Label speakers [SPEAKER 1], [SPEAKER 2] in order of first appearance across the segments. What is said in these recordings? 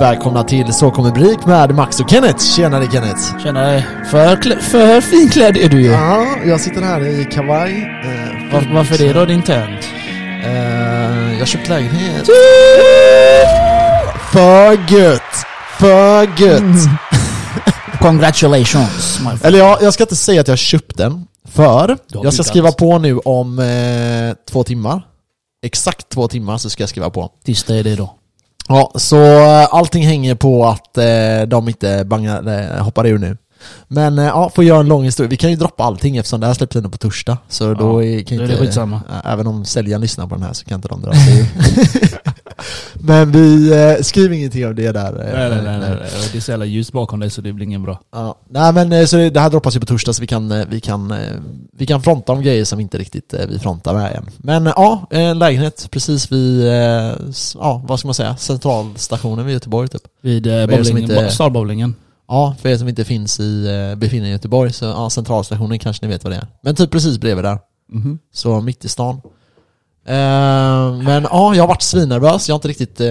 [SPEAKER 1] Välkomna till Så kommer Brik med Max och Kenneth. Tjenare Kenneth!
[SPEAKER 2] Tjena, för, klä- för finklädd är du ju.
[SPEAKER 1] Ja, jag sitter här i kavaj. Eh,
[SPEAKER 2] Var, varför det då, din tönt?
[SPEAKER 1] Eh, jag köpte lägenhet. För gött! För gött!
[SPEAKER 2] Congratulations. my f-
[SPEAKER 1] Eller ja, jag ska inte säga att jag köpte den. För jag ska
[SPEAKER 2] flyttat.
[SPEAKER 1] skriva på nu om eh, två timmar. Exakt två timmar så ska jag skriva på.
[SPEAKER 2] Tisdag är det då.
[SPEAKER 1] Ja, så eh, allting hänger på att eh, de inte bangar, eh, hoppar ur nu. Men eh, ja, får göra en lång historia. Vi kan ju droppa allting eftersom det här släpps ändå på torsdag. Så då är, kan
[SPEAKER 2] då är
[SPEAKER 1] inte,
[SPEAKER 2] det skitsamma.
[SPEAKER 1] eh, Även om säljaren lyssnar på den här så kan inte de dra sig ur. Men vi eh, skriver ingenting om det där. eh,
[SPEAKER 2] Nej, nej, nej, nej, nej. Det är så jävla ljus bakom dig så det blir ingen bra.
[SPEAKER 1] Ja. Nej men eh, så det det här droppas ju på torsdag så vi kan, eh, vi kan, eh, vi kan fronta om grejer som inte riktigt eh, vi frontar med än. Men eh, ja, en lägenhet precis vid, eh, s- ja vad ska man säga, centralstationen vid Göteborg typ.
[SPEAKER 2] Vid eh,
[SPEAKER 1] det som
[SPEAKER 2] bowlingen,
[SPEAKER 1] inte-
[SPEAKER 2] inte... starbowlingen.
[SPEAKER 1] Ja, för er som inte finns i, eh, befinner er i Göteborg så ja, centralstationen kanske ni vet vad det är. Men typ precis bredvid där.
[SPEAKER 2] Mhm.
[SPEAKER 1] Så mitt i stan. Eh, men ja, jag har varit svinnervös. Jag har inte riktigt eh,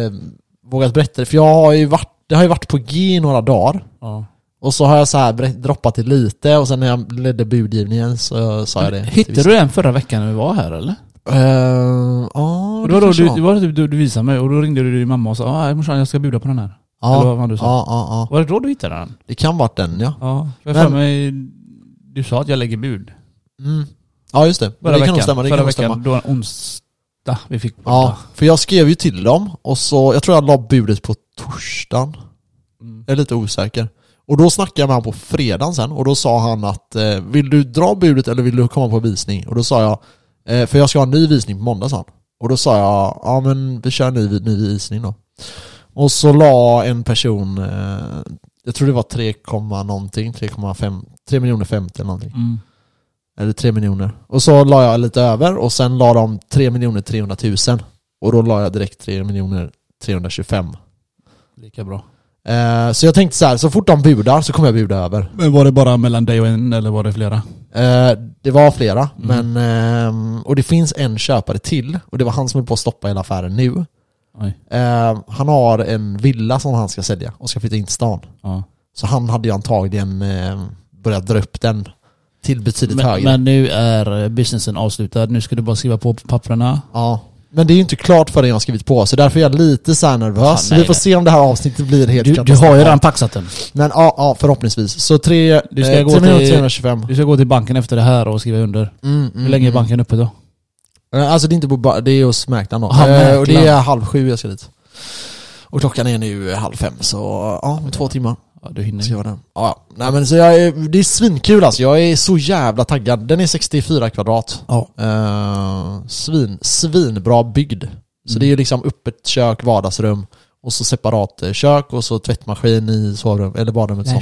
[SPEAKER 1] vågat berätta det. För jag har ju varit, det har ju varit på G i några dagar.
[SPEAKER 2] Ja.
[SPEAKER 1] Och så har jag så här bre- droppat det lite och sen när jag ledde budgivningen så sa jag det.
[SPEAKER 2] Hittade du den förra veckan när vi var här eller?
[SPEAKER 1] Eh, Ja,
[SPEAKER 2] Och
[SPEAKER 1] det
[SPEAKER 2] då, då,
[SPEAKER 1] kanske
[SPEAKER 2] du,
[SPEAKER 1] var.
[SPEAKER 2] det var typ du, du visade mig och då ringde du din mamma och sa ah, morsan jag ska bjuda på den här.
[SPEAKER 1] Ja,
[SPEAKER 2] eller vad var det du sa?
[SPEAKER 1] ja, ja, ja.
[SPEAKER 2] Var det då du hittade den?
[SPEAKER 1] Det kan varit den ja.
[SPEAKER 2] Ja. Jag
[SPEAKER 1] Men-
[SPEAKER 2] för mig, du sa att jag lägger bud.
[SPEAKER 1] Mm. Ja just det.
[SPEAKER 2] Förra
[SPEAKER 1] det kan
[SPEAKER 2] veckan.
[SPEAKER 1] nog stämma. Det
[SPEAKER 2] förra
[SPEAKER 1] kan nog stämma.
[SPEAKER 2] veckan, då en onsdag vi fick
[SPEAKER 1] Ja, för jag skrev ju till dem och så, jag tror jag la budet på torsdagen.
[SPEAKER 2] Mm.
[SPEAKER 1] Jag är lite osäker. Och då snackade jag med honom på fredagen sen och då sa han att eh, vill du dra budet eller vill du komma på visning? Och då sa jag, eh, för jag ska ha en ny visning på måndag sa han. Och då sa jag, ja men vi kör en ny, ny visning då. Och så la en person, eh, jag tror det var 3, komma någonting, 3,5, 3 miljoner 50 eller någonting.
[SPEAKER 2] Mm.
[SPEAKER 1] Eller 3 miljoner. Och så la jag lite över och sen la de 3 miljoner 300 000. Och då la jag direkt 3 miljoner 325.
[SPEAKER 2] Lika bra.
[SPEAKER 1] Eh, så jag tänkte så här, så fort de budar så kommer jag buda över.
[SPEAKER 2] Men var det bara mellan dig och en eller var det flera?
[SPEAKER 1] Eh, det var flera,
[SPEAKER 2] Mm.
[SPEAKER 1] men... ehm, och det finns en köpare till. Och det var han som höll på att stoppa hela affären nu.
[SPEAKER 2] Oj.
[SPEAKER 1] Eh, han har en villa som han ska sälja och ska flytta in till stan.
[SPEAKER 2] Ja.
[SPEAKER 1] Så han hade ju antagligen eh, börjat dra upp den till betydligt
[SPEAKER 2] Men,
[SPEAKER 1] högre.
[SPEAKER 2] men nu är businessen avslutad, nu ska du bara skriva på papperna.
[SPEAKER 1] Ja. Men det är ju inte klart förrän jag har skrivit på, så därför är jag lite så här nervös.
[SPEAKER 2] Ja,
[SPEAKER 1] så
[SPEAKER 2] nej,
[SPEAKER 1] vi får
[SPEAKER 2] nej.
[SPEAKER 1] se om det här avsnittet blir helt
[SPEAKER 2] Du, du har
[SPEAKER 1] katastrofalt.
[SPEAKER 2] ju redan paxat den.
[SPEAKER 1] Men ja, ja, förhoppningsvis. Så tre, eh,
[SPEAKER 2] Du ska gå
[SPEAKER 1] 3 miljoner
[SPEAKER 2] till-
[SPEAKER 1] 325.
[SPEAKER 2] Du ska gå till banken efter det här och skriva under.
[SPEAKER 1] Mm, mm,
[SPEAKER 2] Hur länge är
[SPEAKER 1] mm.
[SPEAKER 2] banken uppe då?
[SPEAKER 1] Eh, Alltså det är inte på ba- det är hos mäklaren då.
[SPEAKER 2] Aha,
[SPEAKER 1] Eh, och det är
[SPEAKER 2] mäklaren.
[SPEAKER 1] halv sju jag ska dit. Och klockan är nu halv fem, så ja, om två timmar
[SPEAKER 2] Ja, du hinner
[SPEAKER 1] ska
[SPEAKER 2] ju.
[SPEAKER 1] jag vara där. Ja, ja. Nej men så jag är, det är svinkul alltså. Jag är så jävla taggad. Den är 64 kvadrat.
[SPEAKER 2] Ja.
[SPEAKER 1] Eh, svin, svinbra byggd. Så
[SPEAKER 2] Mm.
[SPEAKER 1] det är ju liksom öppet kök, vardagsrum och så separat eh, kök och så tvättmaskin i sovrum, eller badrummet. så.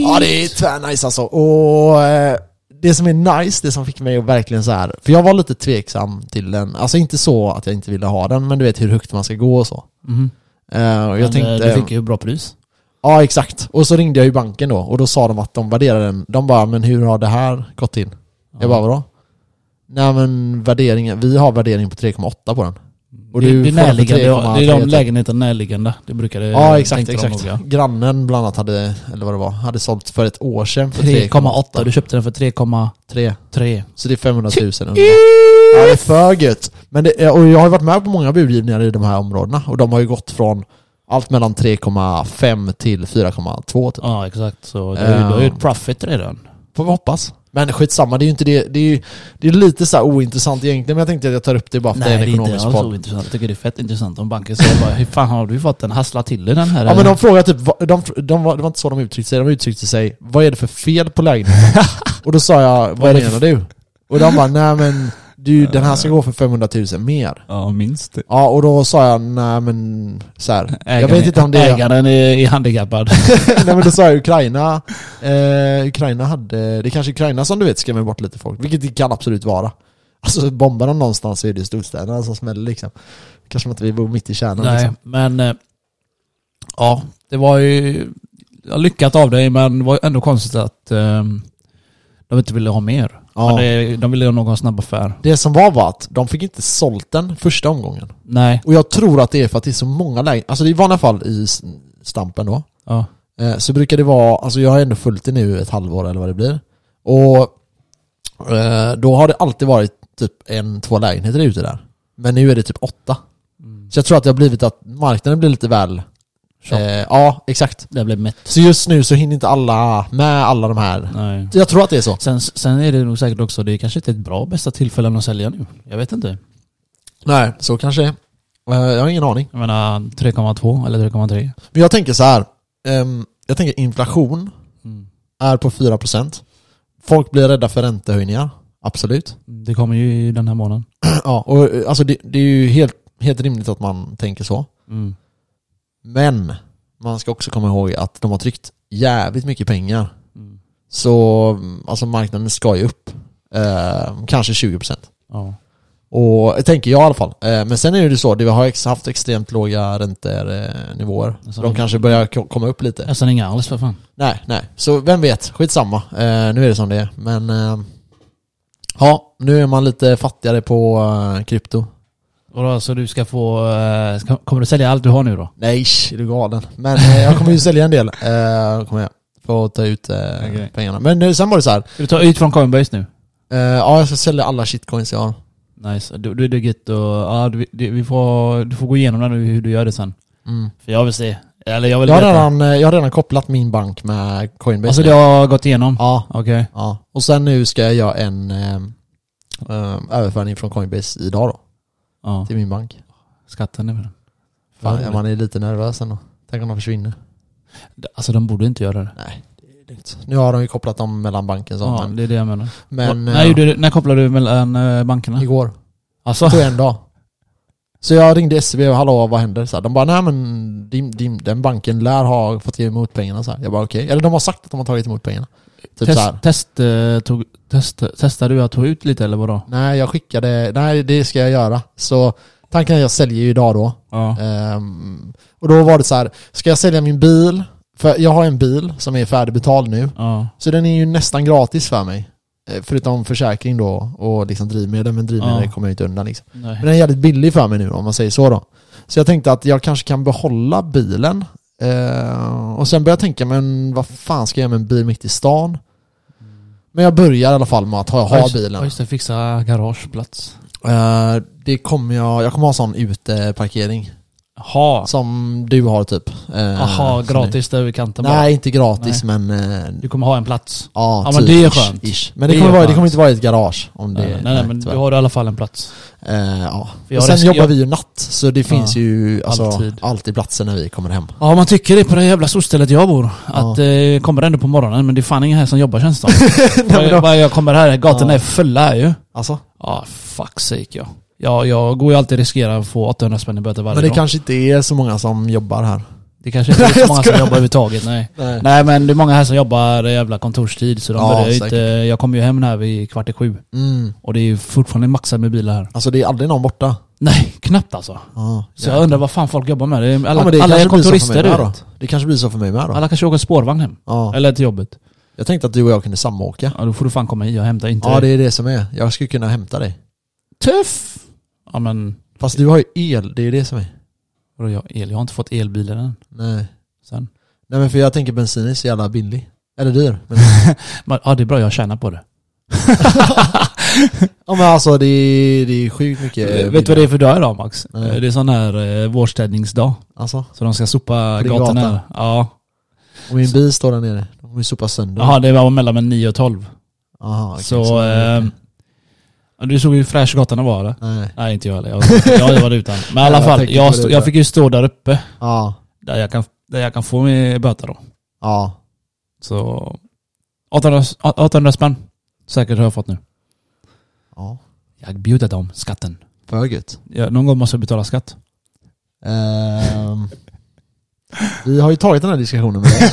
[SPEAKER 1] Ja det är tvärnice alltså. Och eh, det som är nice, det som fick mig att verkligen så här, för jag var lite tveksam till den, alltså inte så att jag inte ville ha den, men du vet hur högt man ska gå och så.
[SPEAKER 2] Mhm.
[SPEAKER 1] Eh, och jag
[SPEAKER 2] Men,
[SPEAKER 1] tänkte,
[SPEAKER 2] eh, Du fick ju bra pris.
[SPEAKER 1] ja exakt. Och så ringde jag ju banken då och då sa de att de värderar den, de bara men hur har det här gått in? Jag bara vadå? Nej men värderingen, vi har värdering på 3,8 på den. och du
[SPEAKER 2] Mm. det, det, är
[SPEAKER 1] får den för
[SPEAKER 2] närliggande, det är
[SPEAKER 1] 3,3
[SPEAKER 2] de
[SPEAKER 1] typ.
[SPEAKER 2] lägenheterna närliggande. Det brukade
[SPEAKER 1] Ja exakt,
[SPEAKER 2] tänkte de
[SPEAKER 1] exakt.
[SPEAKER 2] nog, ja.
[SPEAKER 1] Grannen bland annat hade, eller vad det var, hade sålt för ett år sedan för
[SPEAKER 2] 3,8. Du köpte den för 3,3.
[SPEAKER 1] 3. Så det är 500 000 ungefär. Ja, det är för gött. Men det, och jag har ju varit med på många budgivningar i de här områdena och de har ju gått från allt mellan 3,5 till 4,2 typ.
[SPEAKER 2] Ja exakt. Så du du har ju
[SPEAKER 1] Ehm.
[SPEAKER 2] ett profit redan.
[SPEAKER 1] Får vi hoppas. Men skitsamma, det är ju inte det. Det är ju det är lite så här ointressant egentligen, men jag tänkte att jag tar upp det bara för att det är en ekonomisk podd.
[SPEAKER 2] intressant. Jag tycker det är fett intressant om banken säger bara hur fan har du fått den? Hassla till dig den här
[SPEAKER 1] Ja men
[SPEAKER 2] eller?"
[SPEAKER 1] de frågar typ, va- de, de, var- det var inte så de uttryckte sig, de uttryckte sig Vad är det för fel på lägenheten? och då sa jag, vad
[SPEAKER 2] Vad är det
[SPEAKER 1] menar du? Eh. Och de bara, nej men du, den här ska gå för 500 000 mer
[SPEAKER 2] Ja, minst.
[SPEAKER 1] Ja, och då sa jag nej men så här. jag
[SPEAKER 2] Ägaren,
[SPEAKER 1] vet inte om det är...
[SPEAKER 2] Ägaren är, är handikappad.
[SPEAKER 1] nej men då sa jag Ukraina, eh, Ukraina hade, det är kanske Ukraina som du vet skrämmer bort lite folk, vilket det kan absolut vara. Alltså bombar de någonstans så är det storstäderna som smäller liksom. Kanske inte vi bor mitt i kärnan
[SPEAKER 2] Nej,
[SPEAKER 1] liksom.
[SPEAKER 2] men... eh, Ja, det var ju ja, lyckat av dig, men det var ändå konstigt att eh, de inte ville ha mer.
[SPEAKER 1] Ja.
[SPEAKER 2] Men det, de ville ha någon snabb affär.
[SPEAKER 1] Det som var var att de fick inte sålt den första omgången.
[SPEAKER 2] Nej.
[SPEAKER 1] Och jag tror att det är för att det är så många lägenheter, alltså i vanliga fall i s- stampen då.
[SPEAKER 2] Ja.
[SPEAKER 1] Eh, så brukar det vara, alltså jag har ändå följt det nu ett halvår eller vad det blir. Och eh, då har det alltid varit typ en, två lägenheter ute där. Men nu är det typ åtta. Så jag tror att det har blivit att marknaden blir lite väl...
[SPEAKER 2] Tjock.
[SPEAKER 1] Eh, ja, exakt.
[SPEAKER 2] Det blev mätt.
[SPEAKER 1] Så just nu så hinner inte alla med alla de här.
[SPEAKER 2] Nej.
[SPEAKER 1] Jag tror att det är så.
[SPEAKER 2] Sen, sen är det nog säkert också, det är kanske inte ett bra bästa tillfälle att sälja nu. Jag vet inte.
[SPEAKER 1] Nej, så kanske det är. Eh, Jag har ingen aning.
[SPEAKER 2] Jag menar 3,2 eller 3,3.
[SPEAKER 1] Men jag tänker så här. ehm, jag tänker inflation
[SPEAKER 2] Mm.
[SPEAKER 1] är på 4%. Folk blir rädda för räntehöjningar. Absolut.
[SPEAKER 2] Det kommer ju i den här månaden.
[SPEAKER 1] Ja, och eh, alltså det, det är ju helt, helt rimligt att man tänker så.
[SPEAKER 2] Mm.
[SPEAKER 1] Men man ska också komma ihåg att de har tryckt jävligt mycket pengar.
[SPEAKER 2] Mm.
[SPEAKER 1] Så mm, alltså marknaden ska ju upp. Eh, kanske 20%.
[SPEAKER 2] Ja.
[SPEAKER 1] Och eh, tänker jag i alla fall. Eh, men sen är det ju så, det har ex- haft extremt låga räntenivåer.
[SPEAKER 2] Alltså,
[SPEAKER 1] de kanske börjar ko- komma upp lite.
[SPEAKER 2] Nästan inga alls för fan.
[SPEAKER 1] Nej, nej. Så vem vet, skitsamma. Eh, nu är det som det är. Men eh, ja, nu är man lite fattigare på eh, krypto.
[SPEAKER 2] Och då, så du ska få, eh, ska, kommer du sälja allt du har nu då?
[SPEAKER 1] Nej, sh, är du galen? Men eh, jag kommer ju sälja en del. Eh, kommer jag. För att ta ut eh,
[SPEAKER 2] Okej.
[SPEAKER 1] pengarna. Men eh, sen var det så här.
[SPEAKER 2] Ska du ta ut från Coinbase nu?
[SPEAKER 1] Eh, ja, jag ska sälja alla shitcoins jag har.
[SPEAKER 2] Nice, du, du är det gött och ja, du, du, vi får, du får gå igenom det nu hur du gör det sen.
[SPEAKER 1] Mm.
[SPEAKER 2] För jag vill se. Eller jag vill
[SPEAKER 1] Jag, har
[SPEAKER 2] veta.
[SPEAKER 1] redan, eh, jag har redan kopplat min bank med Coinbase.
[SPEAKER 2] alltså det har gått igenom?
[SPEAKER 1] Ja,
[SPEAKER 2] Okej.
[SPEAKER 1] ja. Och sen nu ska jag göra en eh, eh, överföring från Coinbase idag då.
[SPEAKER 2] Ja.
[SPEAKER 1] Till min bank.
[SPEAKER 2] Skatten är väl...
[SPEAKER 1] Fan,
[SPEAKER 2] Ja,
[SPEAKER 1] man är lite nervös ändå. Tänk om de försvinner.
[SPEAKER 2] Alltså de borde inte göra det.
[SPEAKER 1] Nej, det är lugnt. Nu har de ju kopplat dem mellan banken sa
[SPEAKER 2] Ja,
[SPEAKER 1] han.
[SPEAKER 2] det är det jag menar.
[SPEAKER 1] Men
[SPEAKER 2] när,
[SPEAKER 1] eh,
[SPEAKER 2] gjorde du, när kopplade du mellan eh, bankerna?
[SPEAKER 1] igår,
[SPEAKER 2] Alltså,
[SPEAKER 1] på en dag. Så jag ringde SEB och hallå vad händer? Så här, de bara nej men din, din, den banken lär ha fått ge emot pengarna. Så här. Jag bara okej. Eller de har sagt att de har tagit emot pengarna. Typ så
[SPEAKER 2] test,
[SPEAKER 1] här.
[SPEAKER 2] test, eh, tog, test, testade du att ta ut lite eller vadå?
[SPEAKER 1] Nej jag skickade, nej det ska jag göra. Så tanken är att jag säljer ju idag då.
[SPEAKER 2] Ja.
[SPEAKER 1] Ehm, och då var det så här, ska jag sälja min bil? För jag har en bil som är färdigbetald nu.
[SPEAKER 2] Ja.
[SPEAKER 1] Så den är ju nästan gratis för mig. Eh, Förutom försäkring då och liksom drivmedel, men drivmedel
[SPEAKER 2] Ja.
[SPEAKER 1] kommer jag inte undan liksom. Men
[SPEAKER 2] Nej.
[SPEAKER 1] den är jävligt billig för mig nu om man säger så då. Så jag tänkte att jag kanske kan behålla bilen. Eh, och sen började jag tänka, men vad fan ska jag göra med en bil mitt i stan? Men jag börjar i alla fall med att ha,
[SPEAKER 2] Mm. Ja,
[SPEAKER 1] ha
[SPEAKER 2] just-
[SPEAKER 1] bilen.
[SPEAKER 2] Ja just det, fixa garageplats.
[SPEAKER 1] Eh, det kommer jag, jag kommer ha sån uteparkering. Eh,
[SPEAKER 2] Jaha.
[SPEAKER 1] Som du har typ. Eh,
[SPEAKER 2] Jaha,
[SPEAKER 1] så nu-
[SPEAKER 2] gratis där vid kanten bara.
[SPEAKER 1] Nej, inte gratis men... eh,
[SPEAKER 2] Du kommer ha en plats.
[SPEAKER 1] Ja, typ
[SPEAKER 2] Ja, men det är skönt.
[SPEAKER 1] ish. Men det,
[SPEAKER 2] Det är
[SPEAKER 1] kommer vara, det
[SPEAKER 2] skönt.
[SPEAKER 1] kommer inte vara i ett garage om det...
[SPEAKER 2] Eh, nej, nej, nej, men
[SPEAKER 1] tyvärr.
[SPEAKER 2] du har i alla fall en plats.
[SPEAKER 1] Eh, ja.
[SPEAKER 2] För jag
[SPEAKER 1] Och sen
[SPEAKER 2] risk-
[SPEAKER 1] jobbar
[SPEAKER 2] jag-
[SPEAKER 1] vi ju natt, så det finns ju alltså, alltid.
[SPEAKER 2] alltid.
[SPEAKER 1] platser när vi kommer hem.
[SPEAKER 2] Ja, man tycker det på det jävla solstället jag bor. Att eh, kommer ändå på morgonen, men det är fan ingen här som jobbar känns det som. Bara jag- bara jag kommer här, gatorna är fulla här ju.
[SPEAKER 1] Alltså.
[SPEAKER 2] Ja, fuck sake ja. ja. Jag går ju alltid riskera att få 800 spänn i böter varje
[SPEAKER 1] Men det
[SPEAKER 2] dag.
[SPEAKER 1] kanske inte är så många som jobbar här.
[SPEAKER 2] Det kanske inte är
[SPEAKER 1] Jag
[SPEAKER 2] så många som
[SPEAKER 1] skojar.
[SPEAKER 2] jobbar överhuvudtaget, nej.
[SPEAKER 1] Nej.
[SPEAKER 2] Nej men det är många här som jobbar jävla kontorstid så de
[SPEAKER 1] Ja,
[SPEAKER 2] börjar ju
[SPEAKER 1] säkert.
[SPEAKER 2] inte... Jag kommer ju hem här vid kvart i sju.
[SPEAKER 1] Mm.
[SPEAKER 2] Och det är ju fortfarande maxat med bilar här.
[SPEAKER 1] Alltså det är aldrig någon borta.
[SPEAKER 2] Nej, knappt alltså.
[SPEAKER 1] Ja,
[SPEAKER 2] Så jag undrar vad fan folk jobbar med. Det är- Alla,
[SPEAKER 1] Ja, men det
[SPEAKER 2] alla är
[SPEAKER 1] kanske blir så för mig
[SPEAKER 2] kontorister du
[SPEAKER 1] med då.
[SPEAKER 2] vet.
[SPEAKER 1] Det kanske blir så för mig med då.
[SPEAKER 2] Alla kanske åker spårvagn hem.
[SPEAKER 1] Ja.
[SPEAKER 2] Eller till jobbet.
[SPEAKER 1] Jag tänkte att du och jag kunde samåka.
[SPEAKER 2] Ja, då får du fan komma hit. Jag hämtar inte
[SPEAKER 1] Ja, det
[SPEAKER 2] dig.
[SPEAKER 1] är det som är. Jag skulle kunna hämta dig.
[SPEAKER 2] Tuff! Ja men,
[SPEAKER 1] Fast du har ju el, det är det som är.
[SPEAKER 2] vadå jag har el? Jag har inte fått elbilen än.
[SPEAKER 1] Nej.
[SPEAKER 2] Sen.
[SPEAKER 1] Nej men för jag tänker bensin är så jävla billig. Eller dyr. Men
[SPEAKER 2] Men, ja det är bra, jag tjänar på det.
[SPEAKER 1] Ja men alltså det är, det är sjukt mycket
[SPEAKER 2] Eh, Vet du vad det är för dag idag Max?
[SPEAKER 1] Nej.
[SPEAKER 2] Det är sån här eh, vårstädningsdag.
[SPEAKER 1] Alltså,
[SPEAKER 2] Så de ska sopa
[SPEAKER 1] På din
[SPEAKER 2] gatorna.
[SPEAKER 1] gata?
[SPEAKER 2] här. Ja.
[SPEAKER 1] och min bil står där nere. De kommer ju sopa sönder
[SPEAKER 2] Jaha, det var mellan 9 och 12.
[SPEAKER 1] Aha, okej,
[SPEAKER 2] så...
[SPEAKER 1] så-
[SPEAKER 2] eh, ja, du såg hur fräsch gatan var eller?
[SPEAKER 1] Nej.
[SPEAKER 2] Nej inte jag heller. Jag, jag var utan. Men i alla
[SPEAKER 1] Jag
[SPEAKER 2] fall,
[SPEAKER 1] tänkte
[SPEAKER 2] jag,
[SPEAKER 1] på det
[SPEAKER 2] stå,
[SPEAKER 1] där.
[SPEAKER 2] jag fick ju stå där uppe.
[SPEAKER 1] Ja.
[SPEAKER 2] Där jag kan, där jag kan få min böter då.
[SPEAKER 1] Ja.
[SPEAKER 2] Så... 800, 800 spänn. Säkert har jag fått nu.
[SPEAKER 1] Ja.
[SPEAKER 2] Jag bjuder dem skatten.
[SPEAKER 1] För gött.
[SPEAKER 2] Ja, någon gång måste jag betala skatt.
[SPEAKER 1] Ehm, vi har ju tagit den här diskussionen med dig.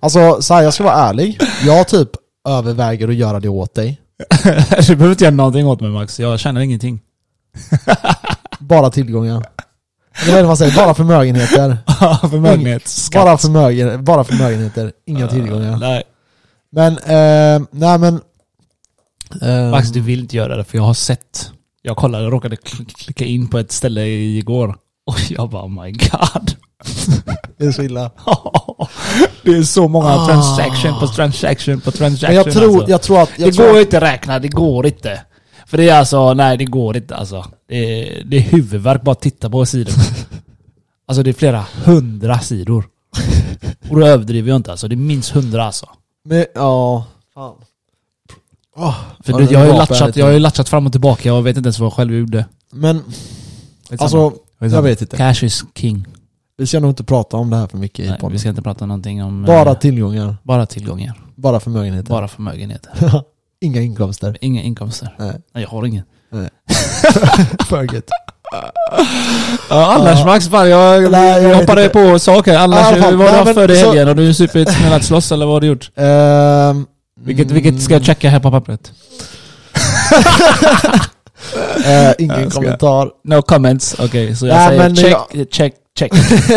[SPEAKER 1] Alltså så här, jag ska vara ärlig. Jag typ överväger att göra det åt dig.
[SPEAKER 2] du behöver inte göra någonting åt mig Max. Jag känner ingenting.
[SPEAKER 1] Bara tillgångar. Eller vad är det man säger? Bara förmögenheter.
[SPEAKER 2] Förmögenhetsskatt.
[SPEAKER 1] Bara, förmögen, bara förmögenheter.
[SPEAKER 2] Ah.
[SPEAKER 1] Inga tillgångar.
[SPEAKER 2] Nej.
[SPEAKER 1] Men, ehm, nej men... ehm,
[SPEAKER 2] Max, du vill inte göra det för jag har sett. Jag kollade, jag råkade kl- klicka in på ett ställe igår. Och jag bara oh my god. Det är så illa. det är så många
[SPEAKER 1] Ah.
[SPEAKER 2] transaction på transaction på transaction.
[SPEAKER 1] Men jag tror,
[SPEAKER 2] alltså.
[SPEAKER 1] jag tror att... Jag
[SPEAKER 2] det
[SPEAKER 1] tror
[SPEAKER 2] går
[SPEAKER 1] att,
[SPEAKER 2] ju inte att räkna, det går inte. För det är alltså, nej det går inte alltså. Det är, det är huvudvärk bara att titta på sidorna. alltså det är flera hundra sidor. Och då överdriver jag inte alltså, det är minst hundra alltså.
[SPEAKER 1] men, ja... Fan. Ah, Åh,
[SPEAKER 2] För
[SPEAKER 1] ja,
[SPEAKER 2] du,
[SPEAKER 1] det
[SPEAKER 2] jag, har ju
[SPEAKER 1] gapar
[SPEAKER 2] latchat,
[SPEAKER 1] lite.
[SPEAKER 2] jag har ju latchat fram och tillbaka, jag vet inte ens vad jag själv gjorde.
[SPEAKER 1] Men
[SPEAKER 2] Skitsamma.
[SPEAKER 1] alltså,
[SPEAKER 2] Skitsamma.
[SPEAKER 1] jag vet inte.
[SPEAKER 2] Cash is king.
[SPEAKER 1] vi ska nog inte prata om det här för mycket i
[SPEAKER 2] Nej, vi
[SPEAKER 1] podden.
[SPEAKER 2] ska inte prata någonting om... eh,
[SPEAKER 1] Bara tillgångar,
[SPEAKER 2] bara tillgångar.
[SPEAKER 1] bara förmögenheter.
[SPEAKER 2] Bara förmögenheter.
[SPEAKER 1] Inga inkomster.
[SPEAKER 2] Inga inkomster.
[SPEAKER 1] Nej,
[SPEAKER 2] Nej, jag har ingen.
[SPEAKER 1] för gött.
[SPEAKER 2] Ja, annars
[SPEAKER 1] Ja.
[SPEAKER 2] Max, fan, jag,
[SPEAKER 1] Nej, jag
[SPEAKER 2] jag
[SPEAKER 1] vet
[SPEAKER 2] hoppade
[SPEAKER 1] inte.
[SPEAKER 2] på saker.
[SPEAKER 1] Ja, i alla
[SPEAKER 2] Annars,
[SPEAKER 1] fall.
[SPEAKER 2] vad
[SPEAKER 1] Nej,
[SPEAKER 2] har du
[SPEAKER 1] men
[SPEAKER 2] haft för i
[SPEAKER 1] så-
[SPEAKER 2] helgen? Har du supit, knullat, slåss eller vad har du gjort? Mm.
[SPEAKER 1] Ehm,
[SPEAKER 2] Vilket, vilket ska jag checka här på pappret?
[SPEAKER 1] Eh, ingen
[SPEAKER 2] Jag ska-
[SPEAKER 1] kommentar.
[SPEAKER 2] No comments. Okej, så jag
[SPEAKER 1] Nej, men
[SPEAKER 2] säger check,
[SPEAKER 1] jag-
[SPEAKER 2] check, check.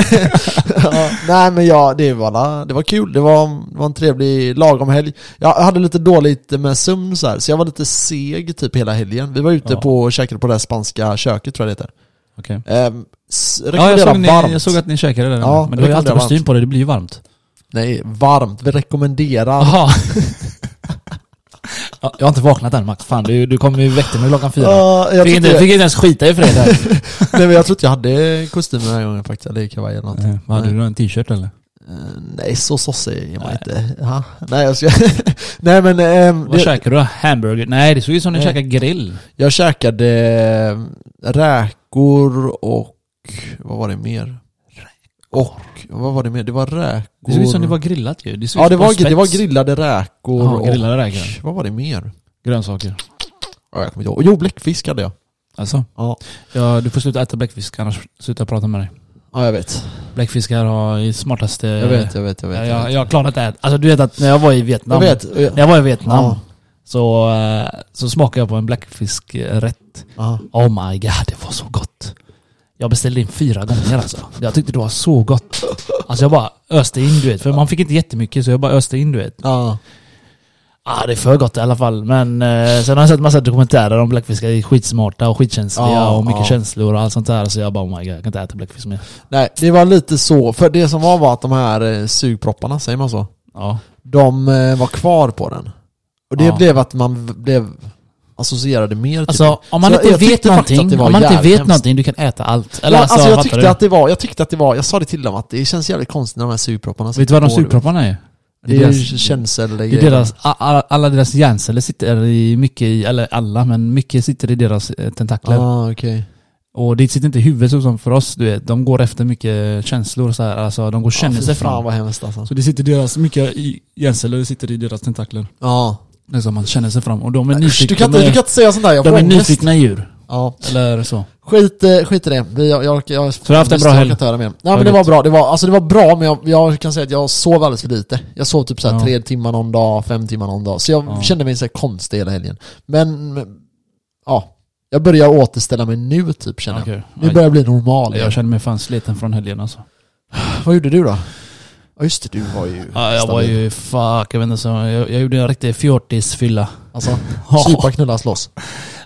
[SPEAKER 1] ja, nej men ja, det var, det var kul. Det var, det var en trevlig lagom helg. Jag hade lite dåligt med sömn så här, så jag var lite seg typ hela helgen. Vi var ute
[SPEAKER 2] Ja.
[SPEAKER 1] på och käkade på det här spanska köket tror jag det
[SPEAKER 2] Okej.
[SPEAKER 1] heter. Um,
[SPEAKER 2] Ja, jag,
[SPEAKER 1] rekommenderar
[SPEAKER 2] såg ni,
[SPEAKER 1] varmt.
[SPEAKER 2] jag såg att ni käkade det.
[SPEAKER 1] Ja,
[SPEAKER 2] Ja, men du har ju
[SPEAKER 1] det
[SPEAKER 2] alltid
[SPEAKER 1] var varmt.
[SPEAKER 2] kostym på dig, det blir ju varmt.
[SPEAKER 1] Nej, varmt. Vi rekommenderar.
[SPEAKER 2] Jaha. ja, jag har inte vaknat än Max. Fan, du, du kommer ju väcka mig klockan fyra.
[SPEAKER 1] Ja, jag,
[SPEAKER 2] fick,
[SPEAKER 1] tror
[SPEAKER 2] inte,
[SPEAKER 1] inte,
[SPEAKER 2] fick inte ens skita i fredag.
[SPEAKER 1] nej, men jag tror inte jag hade kostym den här gången faktiskt, eller kavaj eller något.
[SPEAKER 2] Eh, Vad hade du då? En t-shirt eller?
[SPEAKER 1] Eh, nej, så sossig är man inte. Ja, nej, jag ska... nej men... ehm,
[SPEAKER 2] Vad
[SPEAKER 1] det-
[SPEAKER 2] käkar du då? Hamburger? Nej, det såg ut som ni
[SPEAKER 1] Nej.
[SPEAKER 2] käkade grill.
[SPEAKER 1] Jag käkade eh, räkor och... Vad var det mer? Och... Vad var det mer? Det var räkor...
[SPEAKER 2] Det såg ut som det var grillat ju. Det såg
[SPEAKER 1] Ja,
[SPEAKER 2] ut
[SPEAKER 1] det
[SPEAKER 2] som
[SPEAKER 1] var,
[SPEAKER 2] spets.
[SPEAKER 1] det var grillade räkor
[SPEAKER 2] Ja,
[SPEAKER 1] och...
[SPEAKER 2] grillade räkor.
[SPEAKER 1] Vad var det mer?
[SPEAKER 2] Grönsaker.
[SPEAKER 1] Ja, jag kommer inte ihåg. Jo, bläckfisk hade jag.
[SPEAKER 2] Alltså,
[SPEAKER 1] Ja,
[SPEAKER 2] ja, du får sluta äta bläckfisk annars slutar jag prata med dig.
[SPEAKER 1] ja jag vet.
[SPEAKER 2] Bläckfiskar har ju smartaste...
[SPEAKER 1] Jag vet, jag vet, jag vet.
[SPEAKER 2] jag, jag har klarat det. här. Alltså du vet att när jag var i
[SPEAKER 1] Jag
[SPEAKER 2] Vietnam.
[SPEAKER 1] vet. eh, Jag
[SPEAKER 2] När jag var i Vietnam.
[SPEAKER 1] Ja.
[SPEAKER 2] Så, eh, så smakade jag på en bläckfiskrätt.
[SPEAKER 1] Ja.
[SPEAKER 2] Oh my god, det var så gott. Jag beställde in fyra gånger alltså. Jag tyckte det var så gott. Alltså jag bara öste in du vet. För man fick inte jättemycket så jag bara öste in du vet.
[SPEAKER 1] Ja.
[SPEAKER 2] Ja, ah, det är för gott i alla fall. Men eh, sen har jag sett massa dokumentärer om bläckfiskar. Det är skitsmarta och skitkänsliga
[SPEAKER 1] Ja,
[SPEAKER 2] och mycket
[SPEAKER 1] ja.
[SPEAKER 2] känslor och allt sånt där. Så jag bara oh my god, jag kan inte äta bläckfisk mer.
[SPEAKER 1] Nej, det var lite så. För det som var var att de här eh, sugpropparna, säger man så?
[SPEAKER 2] Ja.
[SPEAKER 1] De eh, var kvar på den. Och det
[SPEAKER 2] Ja.
[SPEAKER 1] blev att man v- blev associerade mer till
[SPEAKER 2] Alltså om man
[SPEAKER 1] Så jag-
[SPEAKER 2] inte
[SPEAKER 1] jag
[SPEAKER 2] vet
[SPEAKER 1] tyckte faktiskt att det
[SPEAKER 2] någonting,
[SPEAKER 1] var
[SPEAKER 2] om man inte
[SPEAKER 1] jävligt
[SPEAKER 2] vet
[SPEAKER 1] hemskt.
[SPEAKER 2] någonting, du kan äta allt. Eller
[SPEAKER 1] ja, alltså, jag,
[SPEAKER 2] fattar
[SPEAKER 1] tyckte
[SPEAKER 2] du?
[SPEAKER 1] att det var, jag tyckte att det var, jag sa det till dem att det känns jävligt konstigt när de här sugpropparna
[SPEAKER 2] Vet du vad de
[SPEAKER 1] sitter på,
[SPEAKER 2] sugpropparna är?
[SPEAKER 1] Det är ju känsel
[SPEAKER 2] det är deras, a- a- alla deras hjärnceller sitter i mycket i, eller alla, men mycket sitter i deras eh, tentakler.
[SPEAKER 1] ah, okej.
[SPEAKER 2] Och det sitter inte i huvudet så som för oss, du vet. De går efter mycket känslor så här. Alltså de går och känner
[SPEAKER 1] Ja, Ah, fy
[SPEAKER 2] sig
[SPEAKER 1] Fan
[SPEAKER 2] fram.
[SPEAKER 1] vad hemskt alltså.
[SPEAKER 2] Så det sitter deras, mycket i hjärnceller det sitter i deras tentakler.
[SPEAKER 1] Ja.
[SPEAKER 2] Det är så man känner sig fram. Och de är
[SPEAKER 1] Du
[SPEAKER 2] nyfikna.
[SPEAKER 1] kan, inte,
[SPEAKER 2] de är,
[SPEAKER 1] du kan inte säga sånt där, jag
[SPEAKER 2] de
[SPEAKER 1] får
[SPEAKER 2] är
[SPEAKER 1] ångest.
[SPEAKER 2] nyfikna djur.
[SPEAKER 1] Ja.
[SPEAKER 2] Eller så.
[SPEAKER 1] Skit, eh, skit i det. Vi, jag, jag, jag,
[SPEAKER 2] du har haft en bra
[SPEAKER 1] jag
[SPEAKER 2] helg?
[SPEAKER 1] kan inte höra mer. Nej
[SPEAKER 2] Vad
[SPEAKER 1] men det var
[SPEAKER 2] gött.
[SPEAKER 1] bra. Det var, alltså, det var bra men jag, jag kan säga att jag sov alldeles för lite. Jag sov typ så här
[SPEAKER 2] Ja.
[SPEAKER 1] tre timmar någon dag, fem timmar någon dag. Så jag
[SPEAKER 2] Ja.
[SPEAKER 1] kände mig så här konstig hela helgen. Men, men, ja. Jag börjar återställa mig nu typ känner jag.
[SPEAKER 2] Okej.
[SPEAKER 1] Nu börjar jag bli normal. igen.
[SPEAKER 2] Jag känner mig fan sliten från helgen alltså.
[SPEAKER 1] Vad gjorde du då? Ja just det, du var ju
[SPEAKER 2] Ja, jag var
[SPEAKER 1] stabil.
[SPEAKER 2] ju fuck, jag vet inte så. Jag, jag gjorde en riktig fjortisfylla.
[SPEAKER 1] Alltså,
[SPEAKER 2] Ja.
[SPEAKER 1] supa, knulla, slåss.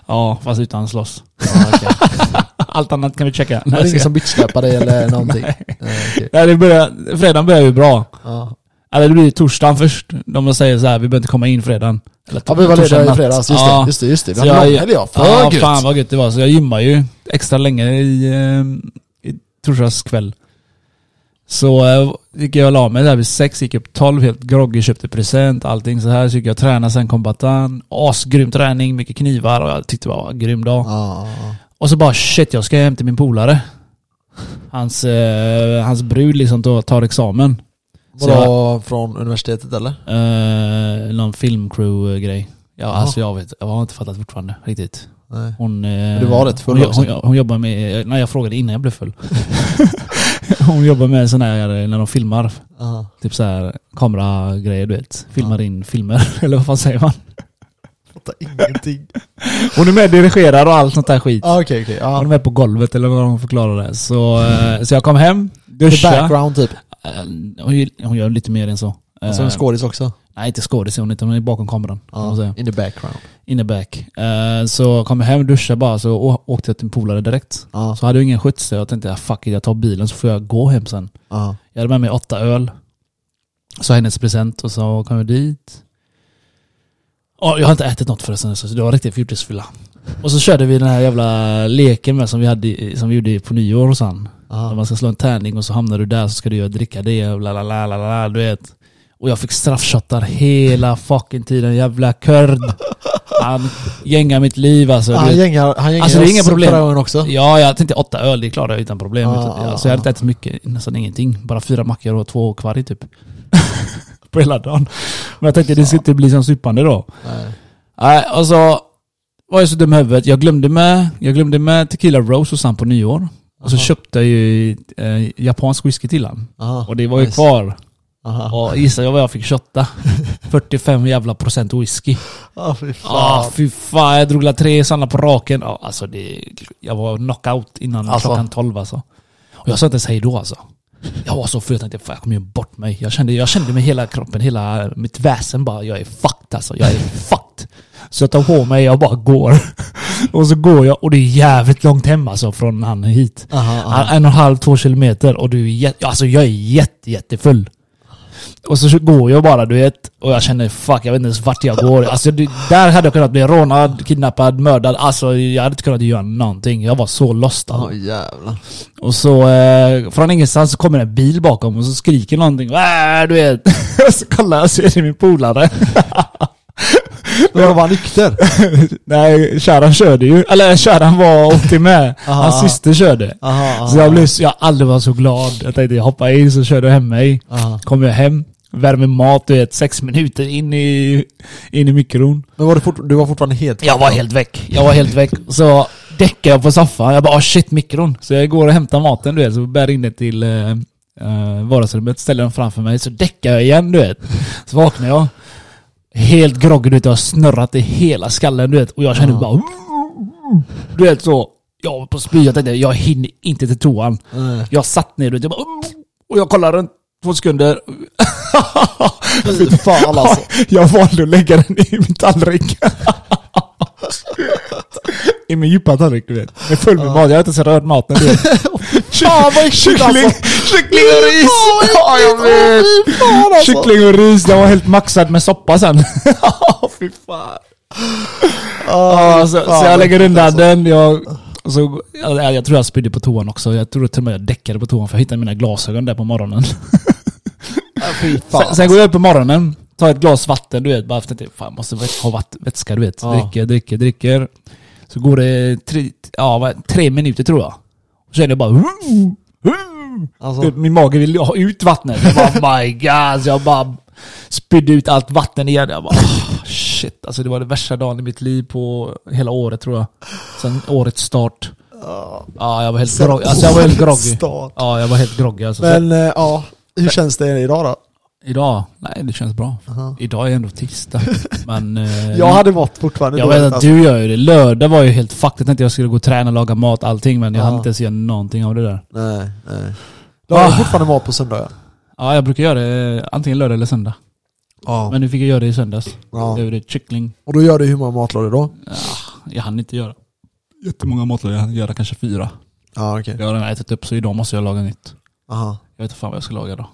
[SPEAKER 2] Ja, fast utan slåss. Allt annat kan vi checka.
[SPEAKER 1] Det
[SPEAKER 2] Nej,
[SPEAKER 1] var ingen
[SPEAKER 2] ska-
[SPEAKER 1] som bitchsläpade dig eller någonting. Nej, okej.
[SPEAKER 2] Nej, det börjar, fredagen börjar ju bra.
[SPEAKER 1] Ja.
[SPEAKER 2] Eller det blir ju torsdagen först. De säger så här, vi behöver inte komma in fredagen. Eller
[SPEAKER 1] ja, vi var
[SPEAKER 2] torsdagen
[SPEAKER 1] lediga i
[SPEAKER 2] natt.
[SPEAKER 1] fredags. Just
[SPEAKER 2] Ja.
[SPEAKER 1] det, just det, just det. Vi
[SPEAKER 2] Så
[SPEAKER 1] hade
[SPEAKER 2] jag-
[SPEAKER 1] långhelg ja. För
[SPEAKER 2] Ja,
[SPEAKER 1] gött.
[SPEAKER 2] fan vad gött det var. Så jag gymmar ju extra länge i, eh, i torsdags kväll. Så eh, gick jag och la mig där vid sex, gick upp tolv, helt groggy, köpte present, allting så här. Så gick jag och tränade sen kom Batan. Asgrym träning, mycket knivar och jag tyckte det var en grym dag.
[SPEAKER 1] Ja, ja, ja.
[SPEAKER 2] Och så bara shit, jag ska hem till min polare. Hans, eh, hans brud liksom tar- tar examen. Så
[SPEAKER 1] Vadå, från universitetet eller?
[SPEAKER 2] Eh, någon filmcrew-grej. Ja, alltså jag vet, jag har inte fattat fortfarande riktigt.
[SPEAKER 1] Nej.
[SPEAKER 2] Hon, eh,
[SPEAKER 1] du var rätt full
[SPEAKER 2] hon,
[SPEAKER 1] också.
[SPEAKER 2] hon, hon jobbar med, eh, nej jag frågade innan jag blev full. hon jobbar med en sån här, eh, när de filmar,
[SPEAKER 1] Aha.
[SPEAKER 2] typ så här kameragrejer du vet. Filmar in filmer, eller vad fan säger man?
[SPEAKER 1] Fattar ingenting.
[SPEAKER 2] Hon är med och dirigerar och allt sånt där skit.
[SPEAKER 1] Ja, Okej, okej.
[SPEAKER 2] Hon
[SPEAKER 1] Ja.
[SPEAKER 2] är med på golvet eller vad hon förklarar det. Så, eh, så jag kom hem,
[SPEAKER 1] The
[SPEAKER 2] duschade.
[SPEAKER 1] background typ.
[SPEAKER 2] Eh, Hon, gör- hon gör lite mer än så.
[SPEAKER 1] Som en
[SPEAKER 2] Eh,
[SPEAKER 1] skådis också.
[SPEAKER 2] Nej, inte skådis är hon inte, hon är bakom kameran. kan man
[SPEAKER 1] Ja,
[SPEAKER 2] säga.
[SPEAKER 1] in the background.
[SPEAKER 2] In the back. Eh, så kom jag hem, duschade bara, så å- åkte jag till en polare direkt.
[SPEAKER 1] Ja,
[SPEAKER 2] Så hade jag ingen skjuts, så jag tänkte "Ah, fuck it, jag tar bilen så får jag gå hem sen.
[SPEAKER 1] ja.
[SPEAKER 2] Jag hade med mig åtta öl. Så hennes present och så kom jag dit. Ja, jag har inte ätit något förresten, så det var riktigt fjortisfylla. Och så körde vi den här jävla leken med som vi, hade, i- som vi gjorde på nyår hos han. När
[SPEAKER 1] ja.
[SPEAKER 2] man ska slå en tärning och så hamnar du där så ska du göra dricka det och la la la la la, du vet. Och jag fick straffshottar hela fucking tiden, jävla kurd. Han gängar mitt liv alltså. du
[SPEAKER 1] Han
[SPEAKER 2] vet.
[SPEAKER 1] gängar, han gängar
[SPEAKER 2] Alltså, det är
[SPEAKER 1] oss
[SPEAKER 2] inga problem.
[SPEAKER 1] förra gången också.
[SPEAKER 2] Ja, jag tänkte åtta öl, det klarar jag utan problem.
[SPEAKER 1] Ja,
[SPEAKER 2] Utan-
[SPEAKER 1] ja,
[SPEAKER 2] alltså, jag hade
[SPEAKER 1] ja.
[SPEAKER 2] inte ätit mycket, nästan ingenting. Bara fyra mackor och två kvarg typ. på hela dagen. Men jag tänkte det ska inte bli som supande då.
[SPEAKER 1] Nej.
[SPEAKER 2] Nej, och så var jag så dum i huvudet. Jag glömde med, jag glömde med Tequila Rose hos han på nyår. Och så
[SPEAKER 1] Aha.
[SPEAKER 2] köpte jag ju eh, japansk whisky till han.
[SPEAKER 1] Aha.
[SPEAKER 2] Och det var ju
[SPEAKER 1] Nice.
[SPEAKER 2] kvar.
[SPEAKER 1] Aha.
[SPEAKER 2] Och gissa jag vad jag fick shotta? 45 jävla procent whisky.
[SPEAKER 1] Ja, fy
[SPEAKER 2] Ja,
[SPEAKER 1] fan.
[SPEAKER 2] Ah, fy fan. Jag drog la tre sådana på raken. Ja, alltså det, jag var knockout innan
[SPEAKER 1] Alltså.
[SPEAKER 2] klockan tolv alltså. Och jag sa inte ens hej då alltså. Jag var så full, jag tänkte fan jag kommer göra bort mig. Jag kände, jag kände med hela kroppen, hela mitt väsen bara, jag är fucked alltså. Jag är fucked. Så jag tar på mig, jag bara går. Och så går jag, och det är jävligt långt hem alltså från han hit.
[SPEAKER 1] Aha,
[SPEAKER 2] Ja,
[SPEAKER 1] aha.
[SPEAKER 2] En och en halv, två kilometer och du är jätte, alltså jag är jätte, jättefull. Och så går jag bara du vet, och jag känner fuck jag vet inte ens vart jag går. Alltså det, där hade jag kunnat bli rånad, kidnappad, mördad. Alltså jag hade inte kunnat göra någonting. Jag var så lost alltså.
[SPEAKER 1] Åh jävlar.
[SPEAKER 2] Och så eh, från ingenstans så kommer en bil bakom och så skriker någonting. "Äh, Du vet. så kollar jag så är det min polare.
[SPEAKER 1] Men jag var nykter.
[SPEAKER 2] Nej, kärran körde ju. Eller kärran var åkte med. Hans
[SPEAKER 1] Aha.
[SPEAKER 2] syster körde.
[SPEAKER 1] Aha, aha.
[SPEAKER 2] Så jag blev så, jag har aldrig varit så glad. Jag tänkte jag hoppar in så körde jag hem mig.
[SPEAKER 1] Aha.
[SPEAKER 2] Kom jag hem, värmer mat du vet, sex minuter in i, in i mikron.
[SPEAKER 1] Men var du, fort, du var fortfarande helt...
[SPEAKER 2] Jag var helt väck. Jag var helt väck. Så däckade jag på soffan. Jag bara oh shit mikron. Så jag går och hämtar maten du vet, så bär in det till eh, eh, vardagsrummet, ställer den framför mig. Så däckar jag igen du vet. Så vaknar jag. Helt groggy du vet, jag har snurrat i hela skallen du vet. Och jag känner
[SPEAKER 1] Ja.
[SPEAKER 2] bara... Du vet så. Jag var på spy, jag tänkte jag hinner inte till toan.
[SPEAKER 1] Nej.
[SPEAKER 2] Jag satt ner och jag bara, och jag kollade runt två sekunder.
[SPEAKER 1] Fy fan alltså.
[SPEAKER 2] Jag valde att lägga den i min tallrik. I min djupa tallrik du vet. Jag är full med mat, jag har inte ens rört maten du vet.
[SPEAKER 1] Fan vad äckligt
[SPEAKER 2] Kyckling,
[SPEAKER 1] alltså.
[SPEAKER 2] kyckling och ris! Ja, jag vet!
[SPEAKER 1] Fy fan alltså.
[SPEAKER 2] Kyckling och ris, den var helt maxad med soppa sen.
[SPEAKER 1] Fy fan.
[SPEAKER 2] Ja, så,
[SPEAKER 1] alltså, fan,
[SPEAKER 2] så jag lägger
[SPEAKER 1] vad
[SPEAKER 2] undan den. Jag, och så, jag, jag tror jag spydde på toan också. Jag tror till och med jag däckade på toan för jag hittade mina glasögon där på morgonen.
[SPEAKER 1] Fy
[SPEAKER 2] Sen,
[SPEAKER 1] fan.
[SPEAKER 2] sen går jag upp på morgonen, tar ett glas vatten du vet, bara för att jag fan, måste vä- ha vatt, vätska du vet.
[SPEAKER 1] Ja.
[SPEAKER 2] Dricker, dricker, dricker. Så går det tre, ja, vad- tre minuter tror jag. Och så är det bara... Typ,
[SPEAKER 1] Alltså.
[SPEAKER 2] Min mage vill ju ha ut vattnet. Jag bara oh my god. Så jag bara spydde ut allt vatten igen. Jag bara "Ah, shit. Alltså det var den värsta dagen i mitt liv på hela året tror jag. Sen årets start. Ja, jag var helt groggy. Alltså jag var helt groggy.
[SPEAKER 1] Start.
[SPEAKER 2] Ja, jag var helt groggy alltså. Så-
[SPEAKER 1] Men eh, ja, hur känns det idag då?
[SPEAKER 2] Idag? Nej, det känns bra.
[SPEAKER 1] Aha.
[SPEAKER 2] Idag är ändå tisdag. Men... Eh,
[SPEAKER 1] Jag hade mått fortfarande
[SPEAKER 2] jag
[SPEAKER 1] dåligt,
[SPEAKER 2] vet att
[SPEAKER 1] alltså.
[SPEAKER 2] du gör ju det. Lördag var ju helt fucked. Jag tänkte jag skulle gå och träna, laga mat, allting. Men jag
[SPEAKER 1] Ja.
[SPEAKER 2] hann inte ens göra någonting av det där.
[SPEAKER 1] Nej, nej. Du har ju
[SPEAKER 2] Ah.
[SPEAKER 1] fortfarande mat på söndagar.
[SPEAKER 2] Ja, jag brukar göra det eh, antingen lördag eller söndag.
[SPEAKER 1] Ja.
[SPEAKER 2] Men nu fick jag göra det i söndags.
[SPEAKER 1] Ja.
[SPEAKER 2] Jag gjorde kyckling.
[SPEAKER 1] Och då gör du hur många matlådor då?
[SPEAKER 2] Jag hann inte göra jättemånga matlådor. Jag hann göra kanske fyra.
[SPEAKER 1] Ja, okej.
[SPEAKER 2] Jag har redan ätit upp så idag måste jag laga nytt.
[SPEAKER 1] Aha.
[SPEAKER 2] Jag vet inte fan vad jag ska laga då.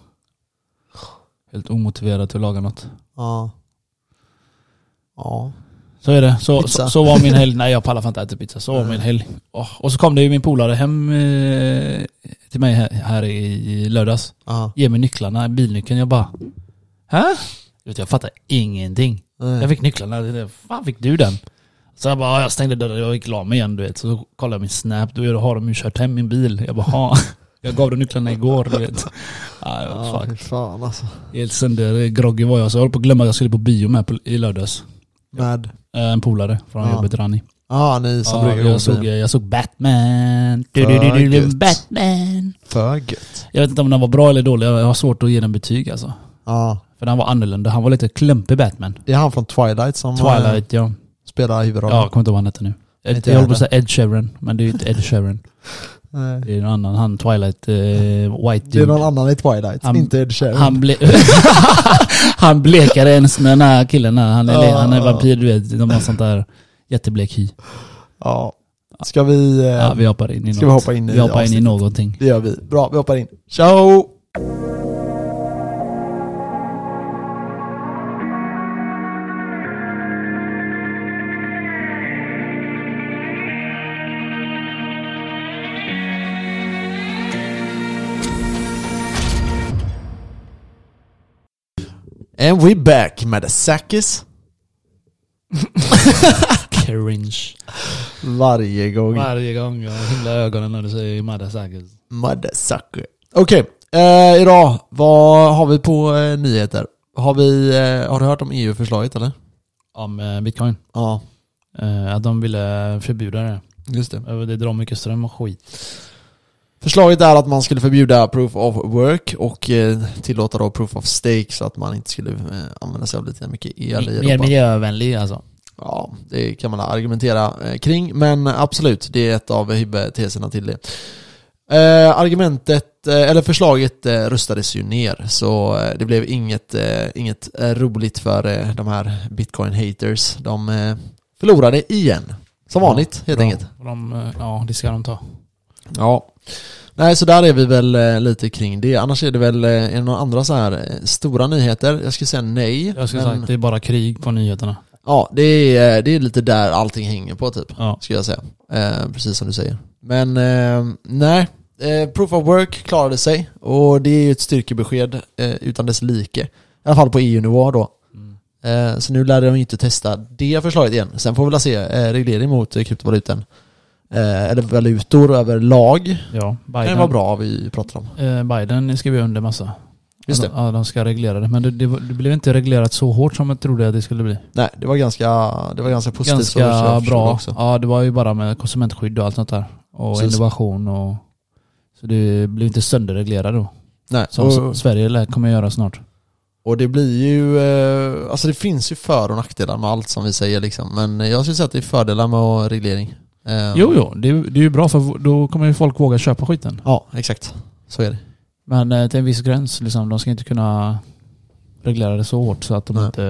[SPEAKER 2] Helt omotiverad till att laga något.
[SPEAKER 1] Ja. Ja.
[SPEAKER 2] Så är det. Så,
[SPEAKER 1] Pizza.
[SPEAKER 2] så, så var min helg. Nej jag pallar fan inte äta pizza. Så var min helg. Åh. Och så kom det ju min polare hem eh, till mig här, här i lördags.
[SPEAKER 1] Aha.
[SPEAKER 2] Ge mig nycklarna, bilnyckeln. Jag bara... Hä? Du vet, Jag fattar ingenting.
[SPEAKER 1] Nej.
[SPEAKER 2] Jag fick nycklarna. Jag tänkte, Fan fick du den? Så jag bara, ja, jag stängde dörren och gick och la mig igen du vet. Så kollade jag min snap, du har de ju kört hem min bil. Jag bara, ha. Jag gav dem nycklarna igår du vet. Ja, jag var
[SPEAKER 1] Ja,
[SPEAKER 2] fuck.
[SPEAKER 1] fy fan alltså.
[SPEAKER 2] Helt söndergroggy var jag. Så jag höll på att glömma att jag skulle på bio med på, i lördags.
[SPEAKER 1] Med...
[SPEAKER 2] Eh, En polare från
[SPEAKER 1] Ja.
[SPEAKER 2] jobbet, Rani.
[SPEAKER 1] Ja, ni som
[SPEAKER 2] Ja,
[SPEAKER 1] brukar gå
[SPEAKER 2] jag, såg,
[SPEAKER 1] förbi.
[SPEAKER 2] jag såg Batman. Du, du, du, du,
[SPEAKER 1] Fuck
[SPEAKER 2] du,
[SPEAKER 1] it.
[SPEAKER 2] Batman.
[SPEAKER 1] För gött.
[SPEAKER 2] Jag vet inte om den var bra eller dålig. Jag har svårt att ge den betyg alltså.
[SPEAKER 1] Ja.
[SPEAKER 2] För den var annorlunda. Han var lite klumpig Batman.
[SPEAKER 1] Det är han från Twilight som eh,
[SPEAKER 2] Twilight ja.
[SPEAKER 1] spelar huvudrollen.
[SPEAKER 2] Ja, jag kommer inte ihåg vad han hette nu. Ed,
[SPEAKER 1] Inte
[SPEAKER 2] jag håller på
[SPEAKER 1] jag
[SPEAKER 2] att säga Ed Sheeran, men det är ju inte Ed Sheeran.
[SPEAKER 1] Nej.
[SPEAKER 2] Det är någon annan, han Twilight eh, White
[SPEAKER 1] Eh, Det är
[SPEAKER 2] dude.
[SPEAKER 1] någon annan i Twilight,
[SPEAKER 2] Han-
[SPEAKER 1] inte Ed Sheeran.
[SPEAKER 2] Han, ble han blekar ens med den här killen där. Han är,
[SPEAKER 1] Ja.
[SPEAKER 2] han är vampyr, du vet. De har sånt där jätteblek hy.
[SPEAKER 1] Ja. Ska vi... eh,
[SPEAKER 2] Ja, vi hoppar in i
[SPEAKER 1] Ska vi
[SPEAKER 2] något.
[SPEAKER 1] hoppa in i
[SPEAKER 2] vi hoppar in i
[SPEAKER 1] avsnittet?
[SPEAKER 2] någonting.
[SPEAKER 1] Det gör vi. Bra, vi hoppar in. Ciao! And we back med Sakis.
[SPEAKER 2] Cringe.
[SPEAKER 1] Varje gång.
[SPEAKER 2] Varje gång jag himlar ögonen när du säger Madasakis.
[SPEAKER 1] Motherfucker. Okej, eh, idag, vad har vi på eh, nyheter? Har, vi, eh, har du hört om EU-förslaget eller?
[SPEAKER 2] Om eh, bitcoin.
[SPEAKER 1] Ja,
[SPEAKER 2] Eh, att de ville förbjuda det.
[SPEAKER 1] just det.
[SPEAKER 2] Eh, Det drar mycket ström och skit.
[SPEAKER 1] Förslaget är att man skulle förbjuda proof of work och eh, tillåta då proof of stake så att man inte skulle eh, använda sig av lite mycket el i
[SPEAKER 2] Mer
[SPEAKER 1] Europa.
[SPEAKER 2] miljövänlig alltså.
[SPEAKER 1] Ja, det kan man argumentera eh, kring, men absolut, det är ett av huvudteserna till det. Eh, argumentet, eh, eller förslaget eh, röstades ju ner, så eh, det blev inget, eh, inget eh, roligt för eh, de här bitcoin-haters. De eh, förlorade igen. Som vanligt, helt
[SPEAKER 2] Bra.
[SPEAKER 1] enkelt.
[SPEAKER 2] De, eh, ja, det ska de ta.
[SPEAKER 1] Ja. Nej, så där är vi väl eh, lite kring det. Annars är det väl, eh, är det några andra så här eh, stora nyheter? Jag skulle säga nej.
[SPEAKER 2] Jag skulle
[SPEAKER 1] men-
[SPEAKER 2] säga att det är bara krig på nyheterna.
[SPEAKER 1] Ja, det är, eh, det är lite där allting hänger på typ.
[SPEAKER 2] Ja.
[SPEAKER 1] skulle jag säga. Eh, precis som du säger. Men eh, nej, eh, Proof of Work klarade sig och det är ju ett styrkebesked eh, utan dess like. I alla fall på EU-nivå då.
[SPEAKER 2] Mm.
[SPEAKER 1] Eh, så nu lär de inte testa det förslaget igen. Sen får vi väl se eh, reglering mot eh, kryptovalutan. Eh, eller valutor överlag.
[SPEAKER 2] Ja,
[SPEAKER 1] Det
[SPEAKER 2] Biden.
[SPEAKER 1] kan vara bra vi pratar om.
[SPEAKER 2] Eh, Biden skrev ju under massa.
[SPEAKER 1] Just
[SPEAKER 2] Ja,
[SPEAKER 1] det.
[SPEAKER 2] de- Ja, de ska reglera det. Men det, det, var- det blev inte reglerat så hårt som jag trodde att det skulle bli.
[SPEAKER 1] Alltså, Nej, det var ganska, det var ganska positivt. för oss,
[SPEAKER 2] Ganska
[SPEAKER 1] jag förstod
[SPEAKER 2] bra.
[SPEAKER 1] Också.
[SPEAKER 2] Ja, det var ju bara med konsumentskydd och allt sånt där. Och
[SPEAKER 1] Precis.
[SPEAKER 2] innovation och... Så det blev inte sönderreglerat då.
[SPEAKER 1] Nej,
[SPEAKER 2] Som
[SPEAKER 1] och-
[SPEAKER 2] S- Sverige lär- kommer göra snart.
[SPEAKER 1] Och det blir ju, eh, alltså det finns ju för och nackdelar med allt som vi säger liksom. Men jag skulle säga att det är fördelar med att ha reglering. Eh,
[SPEAKER 2] Jo, jo. Det, är- det är ju bra för v- då kommer ju folk våga köpa skiten.
[SPEAKER 1] Ja, exakt. Så är det.
[SPEAKER 2] Men eh, till en viss gräns liksom. De ska inte kunna reglera det så hårt så att de
[SPEAKER 1] Nej.
[SPEAKER 2] inte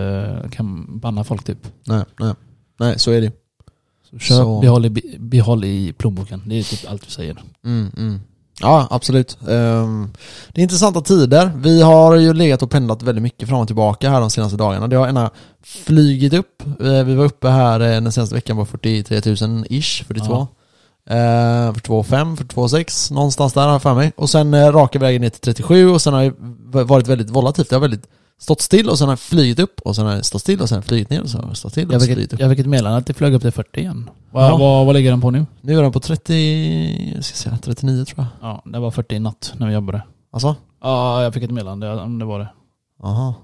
[SPEAKER 2] eh, kan banna folk typ.
[SPEAKER 1] Nej, nej. Nej, så är det.
[SPEAKER 2] Så köp,
[SPEAKER 1] Så-
[SPEAKER 2] Behåll, i, bi- behåll i plånboken. Det är typ allt vi säger.
[SPEAKER 1] Mm, mm. Ja, absolut. Ehm, det är intressanta tider. Vi har ju legat och pendlat väldigt mycket fram och tillbaka här de senaste dagarna. Det har ena flygit upp. Eh, Vi var uppe här eh, den senaste veckan på 43 000-ish, 42.
[SPEAKER 2] Ja.
[SPEAKER 1] Eh, 42,5, 42,6 någonstans där har jag för mig. Och sen eh, raka vägen ner till 37 och sen har det v- varit väldigt volatilt. Det har väldigt stått still och sen har det flygit upp och sen har det stått still och sen har det flygit ner och sen har det stått still och
[SPEAKER 2] Jag
[SPEAKER 1] sen
[SPEAKER 2] fick,
[SPEAKER 1] flygit
[SPEAKER 2] ett,
[SPEAKER 1] upp.
[SPEAKER 2] jag fick ett meddelande att det flög upp till 40 igen. Vad,
[SPEAKER 1] Ja.
[SPEAKER 2] vad, vad ligger den på nu?
[SPEAKER 1] Nu är den på 30, jag ska säga 39 tror jag.
[SPEAKER 2] Ja, det var 40 i natt när vi jobbade.
[SPEAKER 1] Alltså?
[SPEAKER 2] Ja, jag fick ett meddelande om det var det.
[SPEAKER 1] Aha.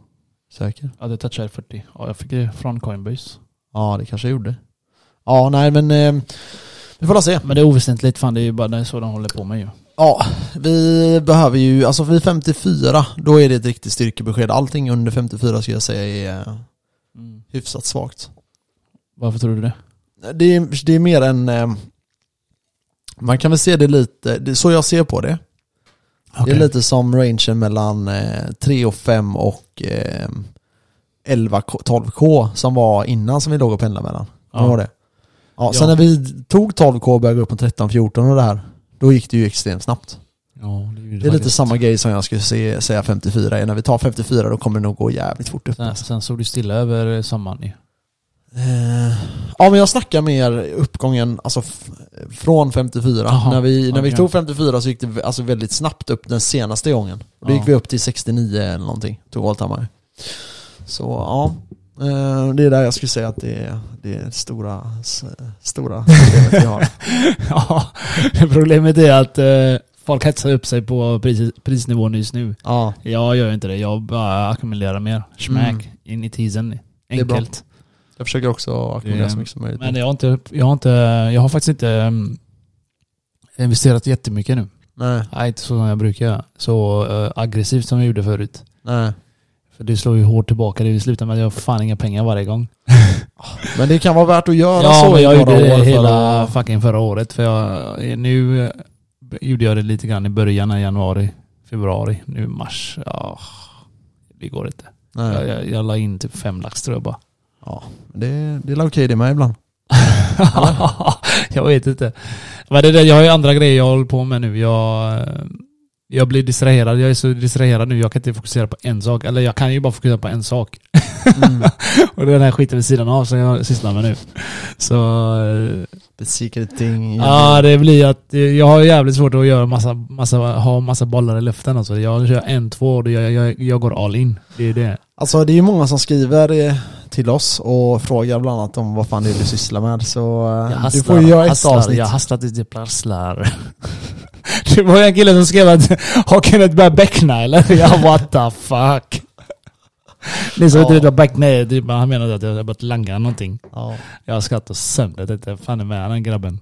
[SPEAKER 1] Säker?
[SPEAKER 2] Ja, det touchade 40. Ja, jag fick det från Coinbase.
[SPEAKER 1] Ja, det kanske jag gjorde. Ja, nej men eh, vi får la se.
[SPEAKER 2] Men det är oväsentligt. Fan, det är ju bara det är så de håller på med ju.
[SPEAKER 1] Ja, vi behöver ju, alltså vid 54, då är det ett riktigt styrkebesked. Allting under 54 skulle jag säga är eh,
[SPEAKER 2] Mm.
[SPEAKER 1] hyfsat svagt.
[SPEAKER 2] Varför tror du det?
[SPEAKER 1] Det är, det är mer en, eh, man kan väl se det lite, det, är så jag ser på det. Det är lite som rangen mellan eh, 3 och 5 och eh, 11-12K som var innan som vi låg och pendlade mellan. Kommer du ihåg
[SPEAKER 2] ja.
[SPEAKER 1] det? Ja,
[SPEAKER 2] Ja.
[SPEAKER 1] sen när vi tog 12K och började gå upp på 13-14 och det här, då gick det ju extremt snabbt.
[SPEAKER 2] ja, det är, ju
[SPEAKER 1] Det är lite
[SPEAKER 2] faktiskt.
[SPEAKER 1] samma grej som jag skulle se, säga 54 är. När vi tar 54 då kommer det nog gå jävligt fort upp.
[SPEAKER 2] Sen,
[SPEAKER 1] Alltså.
[SPEAKER 2] sen såg du stilla över sommaren ju.
[SPEAKER 1] Eh, Ja men jag snackar mer uppgången, alltså f- från 54.
[SPEAKER 2] Jaha,
[SPEAKER 1] när vi, när vi
[SPEAKER 2] okej.
[SPEAKER 1] tog 54 så gick det v- alltså väldigt snabbt upp den senaste gången. Då
[SPEAKER 2] Ja.
[SPEAKER 1] gick vi upp till 69 eller någonting, tog Altammar. Så ja, eh, det är där jag skulle säga att det är det är stora, s- stora problemet vi har.
[SPEAKER 2] ja, problemet är att eh, folk hetsar upp sig på pris, prisnivån just nu.
[SPEAKER 1] Ja.
[SPEAKER 2] Jag gör inte det. Jag bara ackumulerar mer. Smack.
[SPEAKER 1] Mm.
[SPEAKER 2] In i tisen.
[SPEAKER 1] Det är bra.
[SPEAKER 2] Enkelt.
[SPEAKER 1] Jag försöker också ackumulera
[SPEAKER 2] Det-
[SPEAKER 1] så mycket som möjligt.
[SPEAKER 2] Men jag har, inte, jag, har inte, jag har faktiskt inte mm, investerat jättemycket nu.
[SPEAKER 1] Nej,
[SPEAKER 2] Nej, inte så som jag brukar göra. Så eh, aggressivt som jag gjorde förut.
[SPEAKER 1] nej.
[SPEAKER 2] För det slår ju hårt tillbaka. Det slutar med att jag har fan inga pengar varje gång.
[SPEAKER 1] Men det kan vara värt att göra
[SPEAKER 2] Ja,
[SPEAKER 1] så
[SPEAKER 2] men
[SPEAKER 1] i
[SPEAKER 2] jag
[SPEAKER 1] några
[SPEAKER 2] gjorde
[SPEAKER 1] år
[SPEAKER 2] det
[SPEAKER 1] för
[SPEAKER 2] hela
[SPEAKER 1] att-
[SPEAKER 2] fucking förra året. För jag, nu eh, gjorde jag det lite grann i början av januari, februari, nu mars. Ja, det går inte.
[SPEAKER 3] Nej.
[SPEAKER 2] Jag, jag, jag la in typ fem lax tror jag bara.
[SPEAKER 3] Ja, det, det är väl okej det med ibland.
[SPEAKER 2] jag vet inte. Men det, där- jag har ju andra grejer jag håller på med nu. Jag, eh, jag blir distraherad. Jag är så distraherad nu. Jag kan inte fokusera på en sak. Eller jag kan ju bara fokusera på en sak.
[SPEAKER 3] Mm.
[SPEAKER 2] Och det är den här skiten vid sidan av som jag sysslar med nu. Så... eh,
[SPEAKER 3] The secret thing.
[SPEAKER 2] Ja, det blir att eh, jag har jävligt svårt att göra massa, massa, ha massa bollar i luften. Alltså. Jag kör en, två och jag, jag, jag går all in. Det är det.
[SPEAKER 1] Alltså det är ju många som skriver eh, till oss och frågar bland annat om vad fan det är du sysslar med. Så eh,
[SPEAKER 2] Jag
[SPEAKER 1] du
[SPEAKER 2] hastlar,
[SPEAKER 1] får ju göra ett
[SPEAKER 2] hastlar,
[SPEAKER 1] avsnitt.
[SPEAKER 2] Jag typ hastlar tills det plasslar. Det var ju en kille som skrev att har Kenneth börjat beckna eller? Ja, what the fuck. Ni som inte
[SPEAKER 1] Ja.
[SPEAKER 2] vet vad beckna är, det är bara- han menade att jag har börjat langa någonting.
[SPEAKER 1] Ja,
[SPEAKER 2] Jag skrattar sönder detta. Fan är med den grabben.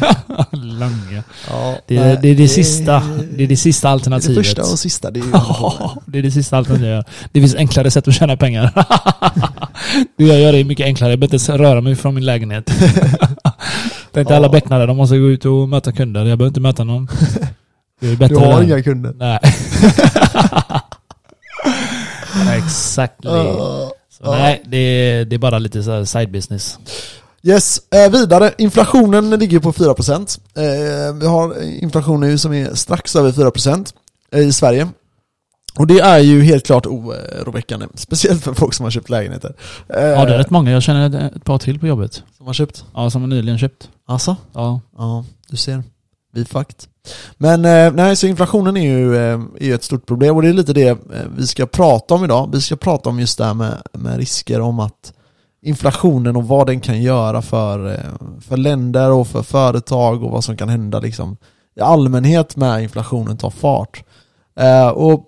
[SPEAKER 2] langa.
[SPEAKER 1] ja,
[SPEAKER 2] Det är
[SPEAKER 1] nej,
[SPEAKER 2] det, är det sista. Det är det sista alternativet.
[SPEAKER 1] Det första och sista. Det är ju
[SPEAKER 2] Ja, det är det sista alternativet jag gör. Det finns enklare sätt att tjäna pengar. Du, jag gör det mycket enklare. Jag behöver inte ens röra mig från min lägenhet. Tänk dig alla
[SPEAKER 1] Ja.
[SPEAKER 2] becknare, de måste gå ut och möta kunder. Jag behöver inte möta någon. Det är bättre
[SPEAKER 1] du har
[SPEAKER 2] där.
[SPEAKER 1] inga kunder.
[SPEAKER 2] Nej. Exakt.
[SPEAKER 1] Uh,
[SPEAKER 2] Så nej, det är, det är bara lite så här side business.
[SPEAKER 1] yes, eh, vidare. Inflationen ligger på 4%. Eh, vi har inflation nu som är strax över 4% i Sverige. Och det är ju helt klart eh, oroväckande. Speciellt för folk som har köpt lägenheter. Eh,
[SPEAKER 2] Ja, det är rätt många. Jag känner ett- ett par till på jobbet.
[SPEAKER 1] Som har köpt.
[SPEAKER 2] Ja, som har nyligen köpt.
[SPEAKER 1] Alltså?
[SPEAKER 2] Ja.
[SPEAKER 1] Ja, du ser. Vi fakt. Men eh, nej, så inflationen är ju, eh, är ju ett stort problem och det är lite det eh, vi ska prata om idag. Vi ska prata om just det här med, med risker om att inflationen och vad den kan göra för, eh, för länder och för företag och vad som kan hända liksom i allmänhet med inflationen tar fart. Eh, och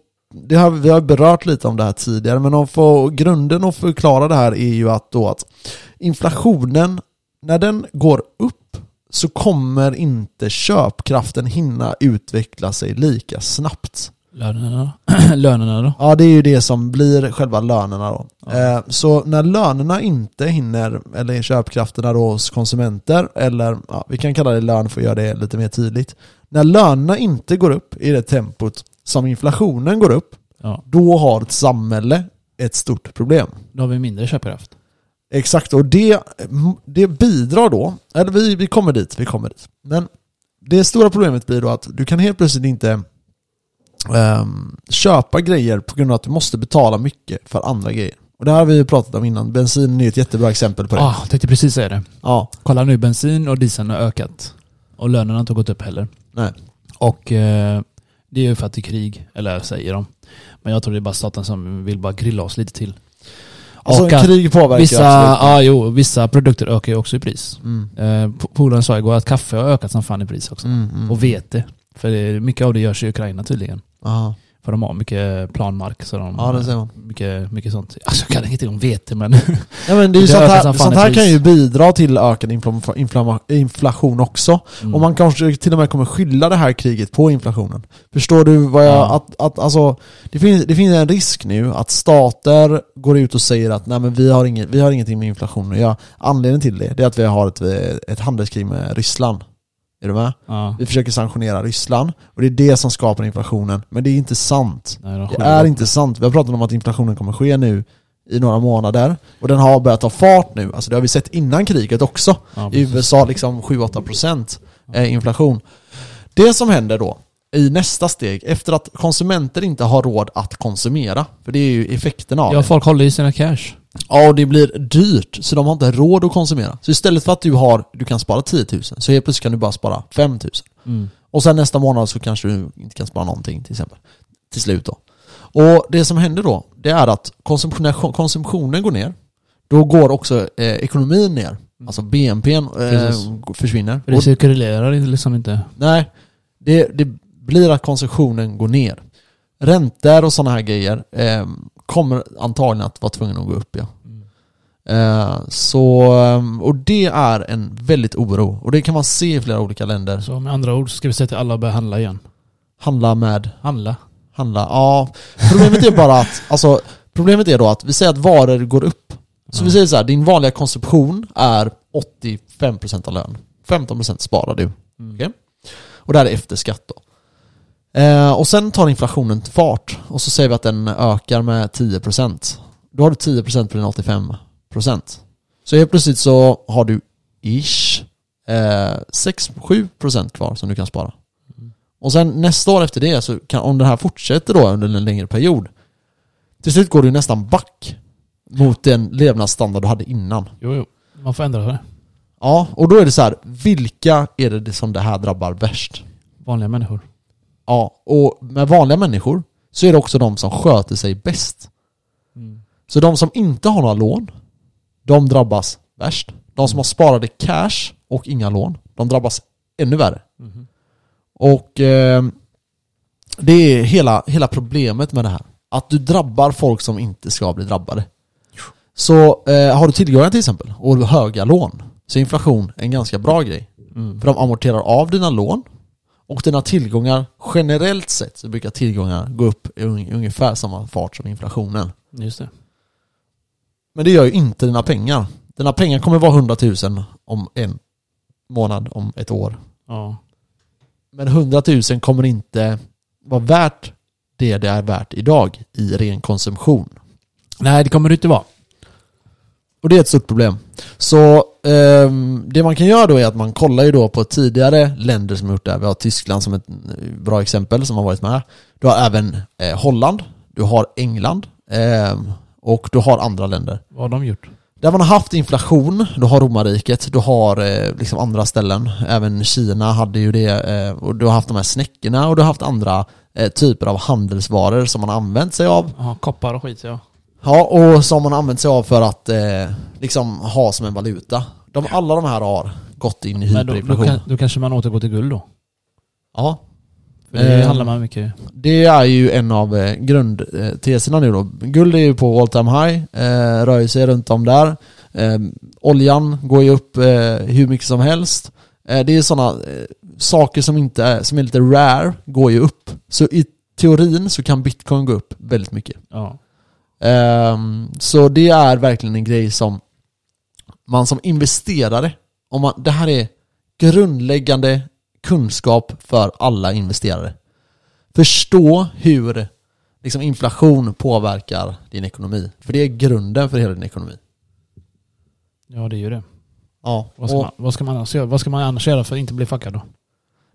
[SPEAKER 1] det har, vi har berört lite om det här tidigare men om få, grunden att förklara det här är ju att då att inflationen, när den går upp så kommer inte köpkraften hinna utveckla sig lika snabbt.
[SPEAKER 2] Lönerna Lönerna då?
[SPEAKER 1] Ja, det är ju det som blir själva lönerna då. Eh, så när lönerna inte hinner, eller köpkrafterna då hos konsumenter, eller ja, vi kan kalla det lön för att göra det lite mer tydligt. När lönerna inte går upp i det tempot som inflationen går upp,
[SPEAKER 2] Ja.
[SPEAKER 1] då har ett samhälle ett stort problem.
[SPEAKER 2] Då har vi mindre köpkraft.
[SPEAKER 1] Exakt, och det, det bidrar då, eller vi, vi kommer dit, vi kommer dit. Men det stora problemet blir då att du kan helt plötsligt inte ehm, köpa grejer på grund av att du måste betala mycket för andra grejer. Och det här har vi ju pratat om innan, bensin är ju ett jättebra exempel på det.
[SPEAKER 2] Ja, ah, tänkte precis säga det.
[SPEAKER 1] Ja,
[SPEAKER 2] Kolla nu, bensin och dieseln har ökat. Och lönerna har inte gått upp heller.
[SPEAKER 1] nej.
[SPEAKER 2] Och eh, det är ju för att det är krig, eller säger de. Men jag tror det är bara staten som vill bara grilla oss lite till. och
[SPEAKER 1] Alltså
[SPEAKER 2] att
[SPEAKER 1] krig påverkar
[SPEAKER 2] vissa,
[SPEAKER 1] absolut.
[SPEAKER 2] ah, jo, vissa produkter ökar ju också i pris.
[SPEAKER 1] Mm.
[SPEAKER 2] Eh, po- Polaren sa igår att kaffe har ökat som fan i pris också.
[SPEAKER 1] Mm, mm.
[SPEAKER 2] Och vete. För det, mycket av det görs i Ukraina tydligen.
[SPEAKER 1] Aha.
[SPEAKER 2] För de har mycket planmark. Så de,
[SPEAKER 1] Ja, det ser man.
[SPEAKER 2] mycket, mycket sånt. Alltså, jag kan ingenting om vete men...
[SPEAKER 1] Ja, men det är ju
[SPEAKER 2] Det
[SPEAKER 1] sånt
[SPEAKER 2] ökar
[SPEAKER 1] här,
[SPEAKER 2] som fan
[SPEAKER 1] sånt
[SPEAKER 2] i
[SPEAKER 1] här
[SPEAKER 2] pris.
[SPEAKER 1] kan ju bidra till ökad inflam- inflamma- inflation också.
[SPEAKER 2] Mm.
[SPEAKER 1] Och man kanske till och med kommer skylla det här kriget på inflationen. Förstår du vad jag...
[SPEAKER 2] Ja.
[SPEAKER 1] Att, att, alltså, det, finns, det finns en risk nu att stater går ut och säger att nej men vi har, inget, vi har ingenting med inflation att göra. Anledningen till det, det är att vi har ett, ett handelskrig med Ryssland. Är du med?
[SPEAKER 2] Ja.
[SPEAKER 1] Vi försöker sanktionera Ryssland och det är det som skapar inflationen. Men det är inte sant.
[SPEAKER 2] Nej, de
[SPEAKER 1] Det
[SPEAKER 2] skyller
[SPEAKER 1] är
[SPEAKER 2] på-
[SPEAKER 1] inte sant. Vi har pratat om att inflationen kommer ske nu i några månader. Och den har börjat ta fart nu. Alltså det har vi sett innan kriget också.
[SPEAKER 2] Ja,
[SPEAKER 1] I USA liksom 7-8% eh, inflation. Det som händer då i nästa steg, efter att konsumenter inte har råd att konsumera, för det är ju effekten av
[SPEAKER 2] Ja,
[SPEAKER 1] det.
[SPEAKER 2] folk håller i sina cash.
[SPEAKER 1] Ja, och det blir dyrt, så de har inte råd att konsumera. Så istället för att du har, du kan spara 10 000, så helt plötsligt kan du bara spara 5 000.
[SPEAKER 2] Mm.
[SPEAKER 1] Och sen nästa månad så kanske du inte kan spara någonting till exempel. Till slut då. Och det som händer då, det är att konsumtionen, konsumtionen går ner. Då går också eh, ekonomin ner. Alltså BNP eh,
[SPEAKER 2] Mm. Precis.
[SPEAKER 1] försvinner.
[SPEAKER 2] För det
[SPEAKER 1] Och-
[SPEAKER 2] cirkulerar inte liksom inte.
[SPEAKER 1] Nej, det, det blir att konsumtionen går ner. Räntor och sådana här grejer eh, kommer antagligen att vara tvungna att gå upp. Ja. Eh, så, eh, och det är en väldigt oro. Och det kan man se i flera olika länder.
[SPEAKER 2] Så med andra ord så ska vi säga till alla att börja handla igen.
[SPEAKER 1] Handla med,
[SPEAKER 2] Handla.
[SPEAKER 1] handla, ja. Problemet är bara att, alltså, problemet är då att vi säger att varor går upp. Så vi säger så här, din vanliga
[SPEAKER 4] Mm.
[SPEAKER 1] konsumtion är 85% av lön. 15% sparar du. Okej? Och det här är efter skatt då. Eh, och sen tar inflationen fart och så säger vi att den ökar med 10%. Då har du 10% på din 85%. Så helt plötsligt så har du ish eh, 6-7% kvar som du kan spara. Och sen nästa år efter det, så kan, om det här fortsätter då under en längre period, till slut går du nästan back mot den levnadsstandard du hade innan.
[SPEAKER 4] Jo, jo. Man får ändra det.
[SPEAKER 1] Ja, och då är det så här, vilka är det som det här drabbar värst?
[SPEAKER 4] Vanliga människor.
[SPEAKER 1] Ja, och med vanliga människor så är det också de som sköter sig bäst.
[SPEAKER 4] Mm.
[SPEAKER 1] Så de som inte har några lån, de drabbas värst. De som har sparade cash och inga lån, de drabbas ännu värre.
[SPEAKER 4] Mhm.
[SPEAKER 1] Och eh, det är hela, hela problemet med det här. Att du drabbar folk som inte ska bli drabbade. Så eh, har du tillgångar till exempel och höga lån så är inflation en ganska bra grej. För de amorterar av dina lån och dina tillgångar generellt sett så brukar tillgångar gå upp i un- ungefär samma fart som inflationen.
[SPEAKER 4] Just det.
[SPEAKER 1] Men det gör ju inte dina pengar. Dina pengar kommer vara 100 000 om en månad, om ett år.
[SPEAKER 4] Ja.
[SPEAKER 1] Men 100 000 kommer inte vara värt det det är värt idag i ren konsumtion.
[SPEAKER 4] Nej, det kommer det inte vara.
[SPEAKER 1] Och det är ett stort problem. Så ehm, det man kan göra då är att man kollar ju då på tidigare länder som har gjort det här. Vi har Tyskland som ett eh, bra exempel som har varit med. Du har även eh, Holland, du har England ehm, och du har andra länder.
[SPEAKER 4] Vad har de gjort?
[SPEAKER 1] Där man har haft inflation, du har romarriket, du har eh, liksom andra ställen, även Kina hade ju det, eh, och du har haft de här snäckorna och du har haft andra eh, typer av handelsvaror som man har använt sig av.
[SPEAKER 4] Ja, koppar och skit ja.
[SPEAKER 1] Ja, och som man har använt sig av för att eh, liksom ha som en valuta. De, alla de här har gått in i
[SPEAKER 4] Men då, då,
[SPEAKER 1] hyperinflation.
[SPEAKER 4] kan, då kanske man återgår till guld då.
[SPEAKER 1] Ja,
[SPEAKER 4] För det
[SPEAKER 1] Eh.
[SPEAKER 4] handlar man mycket.
[SPEAKER 1] det är ju en av eh, grundteserna nu då. Guld är ju på all time high, eh, rör sig runt om där. Eh, oljan går ju upp eh, hur mycket som helst. Eh, det är sådana eh, saker som, inte är, som är lite rare, går ju upp. Så i teorin så kan bitcoin gå upp väldigt mycket.
[SPEAKER 4] Ja.
[SPEAKER 1] Ehm, så det är verkligen en grej som man som investerare, om man, det här är grundläggande kunskap för alla investerare. Förstå hur liksom, inflation påverkar din ekonomi. För det är grunden för hela din ekonomi.
[SPEAKER 4] ja, det är ju det.
[SPEAKER 1] Ja,
[SPEAKER 4] Vad ska,
[SPEAKER 1] och-
[SPEAKER 4] man, vad, ska man annars göra? vad ska man annars göra för att inte bli fuckad då?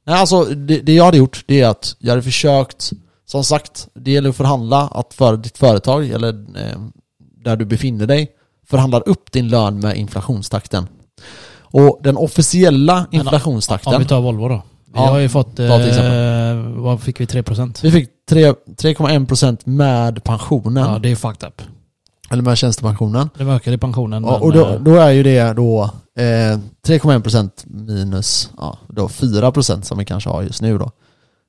[SPEAKER 1] Nej, alltså det, det jag hade gjort det är att jag hade försökt, som sagt, det gäller att förhandla att för ditt företag eller eh, där du befinner dig förhandlar upp din lön med inflationstakten. Och den officiella
[SPEAKER 4] Men,
[SPEAKER 1] inflationstakten,
[SPEAKER 4] Om vi tar Volvo då. Vi
[SPEAKER 1] Ja,
[SPEAKER 4] har ju fått,
[SPEAKER 1] ta till
[SPEAKER 4] eh, vad fick vi? 3%?
[SPEAKER 1] vi fick tre- 3,1% med pensionen,
[SPEAKER 4] Ja, det är fucked up.
[SPEAKER 1] eller med tjänstepensionen.
[SPEAKER 4] De ökade pensionen.
[SPEAKER 1] Ja,
[SPEAKER 4] men,
[SPEAKER 1] och då,
[SPEAKER 4] eh,
[SPEAKER 1] då är ju det då eh, 3,1% minus ja, då 4% som vi kanske har just nu då.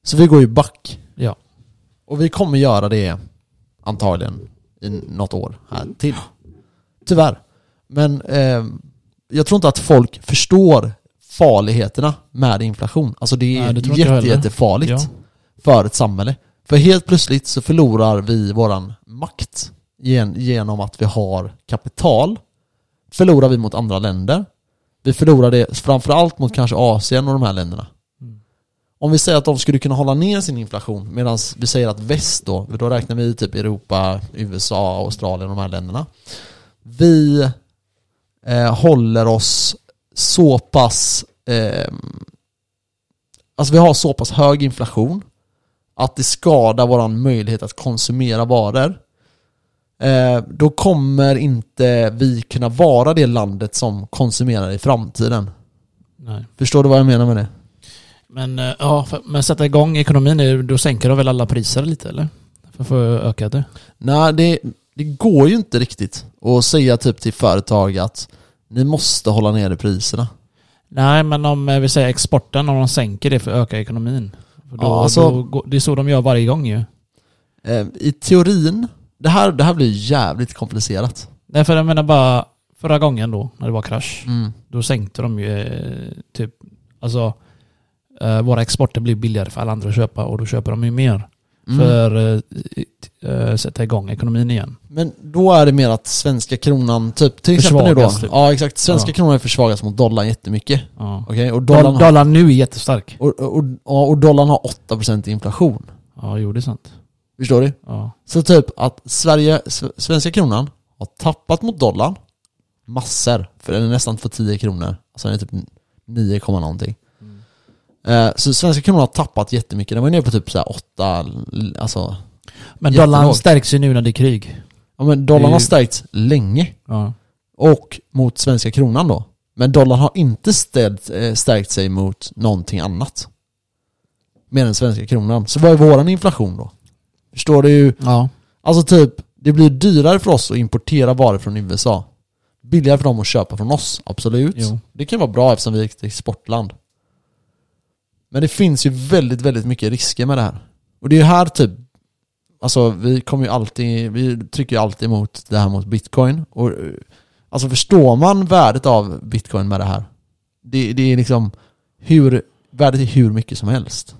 [SPEAKER 1] Så vi går ju back.
[SPEAKER 4] Ja.
[SPEAKER 1] Och vi kommer göra det antagligen i något år här till. Tyvärr. Men eh, jag tror inte att folk förstår farligheterna med inflation. Alltså det är
[SPEAKER 4] Nej, det tror inte jag
[SPEAKER 1] jätte,
[SPEAKER 4] heller.
[SPEAKER 1] jättefarligt
[SPEAKER 4] Ja.
[SPEAKER 1] för ett samhälle. För helt plötsligt så förlorar vi våran makt gen- genom att vi har kapital. Förlorar vi mot andra länder. Vi förlorar det framförallt mot kanske Asien och de här länderna.
[SPEAKER 4] Mm.
[SPEAKER 1] Om vi säger att de skulle kunna hålla ner sin inflation medan vi säger att väst då, då räknar vi typ Europa, USA, Australien och de här länderna. Vi eh, håller oss så pass eh, Alltså vi har så pass hög inflation att det skadar våran möjlighet att konsumera varor. Eh, då kommer inte vi kunna vara det landet som konsumerar i framtiden.
[SPEAKER 4] Nej.
[SPEAKER 1] Förstår du vad jag menar med det?
[SPEAKER 4] Men, eh, ja, för, men sätta igång ekonomin, nu, då sänker de väl alla priser lite eller? För att få öka det.
[SPEAKER 1] Nej, det, det går ju inte riktigt att säga typ till företag att ni måste hålla nere priserna.
[SPEAKER 4] Nej, men om eh, vi säger exporten, om de sänker det för att öka ekonomin. För Då,
[SPEAKER 1] Ja, alltså-
[SPEAKER 4] då, går- det är så de gör varje gång ju.
[SPEAKER 1] Eh, I teorin, det här, det här blir jävligt komplicerat.
[SPEAKER 4] Nej, för jag menar bara förra gången då, när det var krasch,
[SPEAKER 2] Mm.
[SPEAKER 4] då sänkte de ju eh, typ, alltså eh, våra exporter blir billigare för alla andra att köpa och då köper de ju mer.
[SPEAKER 1] Mm.
[SPEAKER 4] För eh,
[SPEAKER 2] eh, sätta igång ekonomin igen.
[SPEAKER 1] Men då är det mer att svenska kronan, typ till exempel nu
[SPEAKER 2] Försvagas,
[SPEAKER 1] då.
[SPEAKER 2] typ.
[SPEAKER 1] Ja exakt, svenska
[SPEAKER 2] Ja.
[SPEAKER 1] kronan är försvagas mot dollarn jättemycket.
[SPEAKER 2] Ja.
[SPEAKER 1] Okej, och dollarn,
[SPEAKER 2] Dollarn,
[SPEAKER 1] har-
[SPEAKER 2] dollarn nu är jättestark.
[SPEAKER 1] och, och, ja, och dollarn har 8% inflation.
[SPEAKER 2] Ja, jo det är sant.
[SPEAKER 1] Förstår du?
[SPEAKER 2] Ja.
[SPEAKER 1] Så typ att Sverige, s- svenska kronan har tappat mot dollarn massor. För den är nästan för 10 kronor. Alltså den är typ 9, komma någonting.
[SPEAKER 2] Mm.
[SPEAKER 1] Eh, Så svenska kronan har tappat jättemycket. Den var ju nere på typ så här 8, alltså.
[SPEAKER 2] Men
[SPEAKER 1] Jättelågt.
[SPEAKER 2] dollarn stärks ju nu när det är krig.
[SPEAKER 1] Ja men dollarn
[SPEAKER 2] Det är
[SPEAKER 1] har
[SPEAKER 2] ju-
[SPEAKER 1] stärkts länge.
[SPEAKER 2] Ja.
[SPEAKER 1] Och mot svenska kronan då. Men dollarn har inte ställt, eh, stärkt sig mot någonting annat. Mer än svenska kronan. Så vad är våran inflation då? Förstår du?
[SPEAKER 2] ja.
[SPEAKER 1] Alltså typ, det blir dyrare för oss att importera varor från USA. Billigare för dem att köpa från oss, absolut.
[SPEAKER 2] Jo.
[SPEAKER 1] Det kan vara bra eftersom vi är ett exportland. Men det finns ju väldigt, väldigt mycket risker med det här. Och det är ju här typ, alltså vi kommer ju alltid, vi trycker ju alltid mot det här mot bitcoin. Och, eh, alltså förstår man värdet av bitcoin med det här? Det, det är liksom hur, värdet är hur mycket som helst.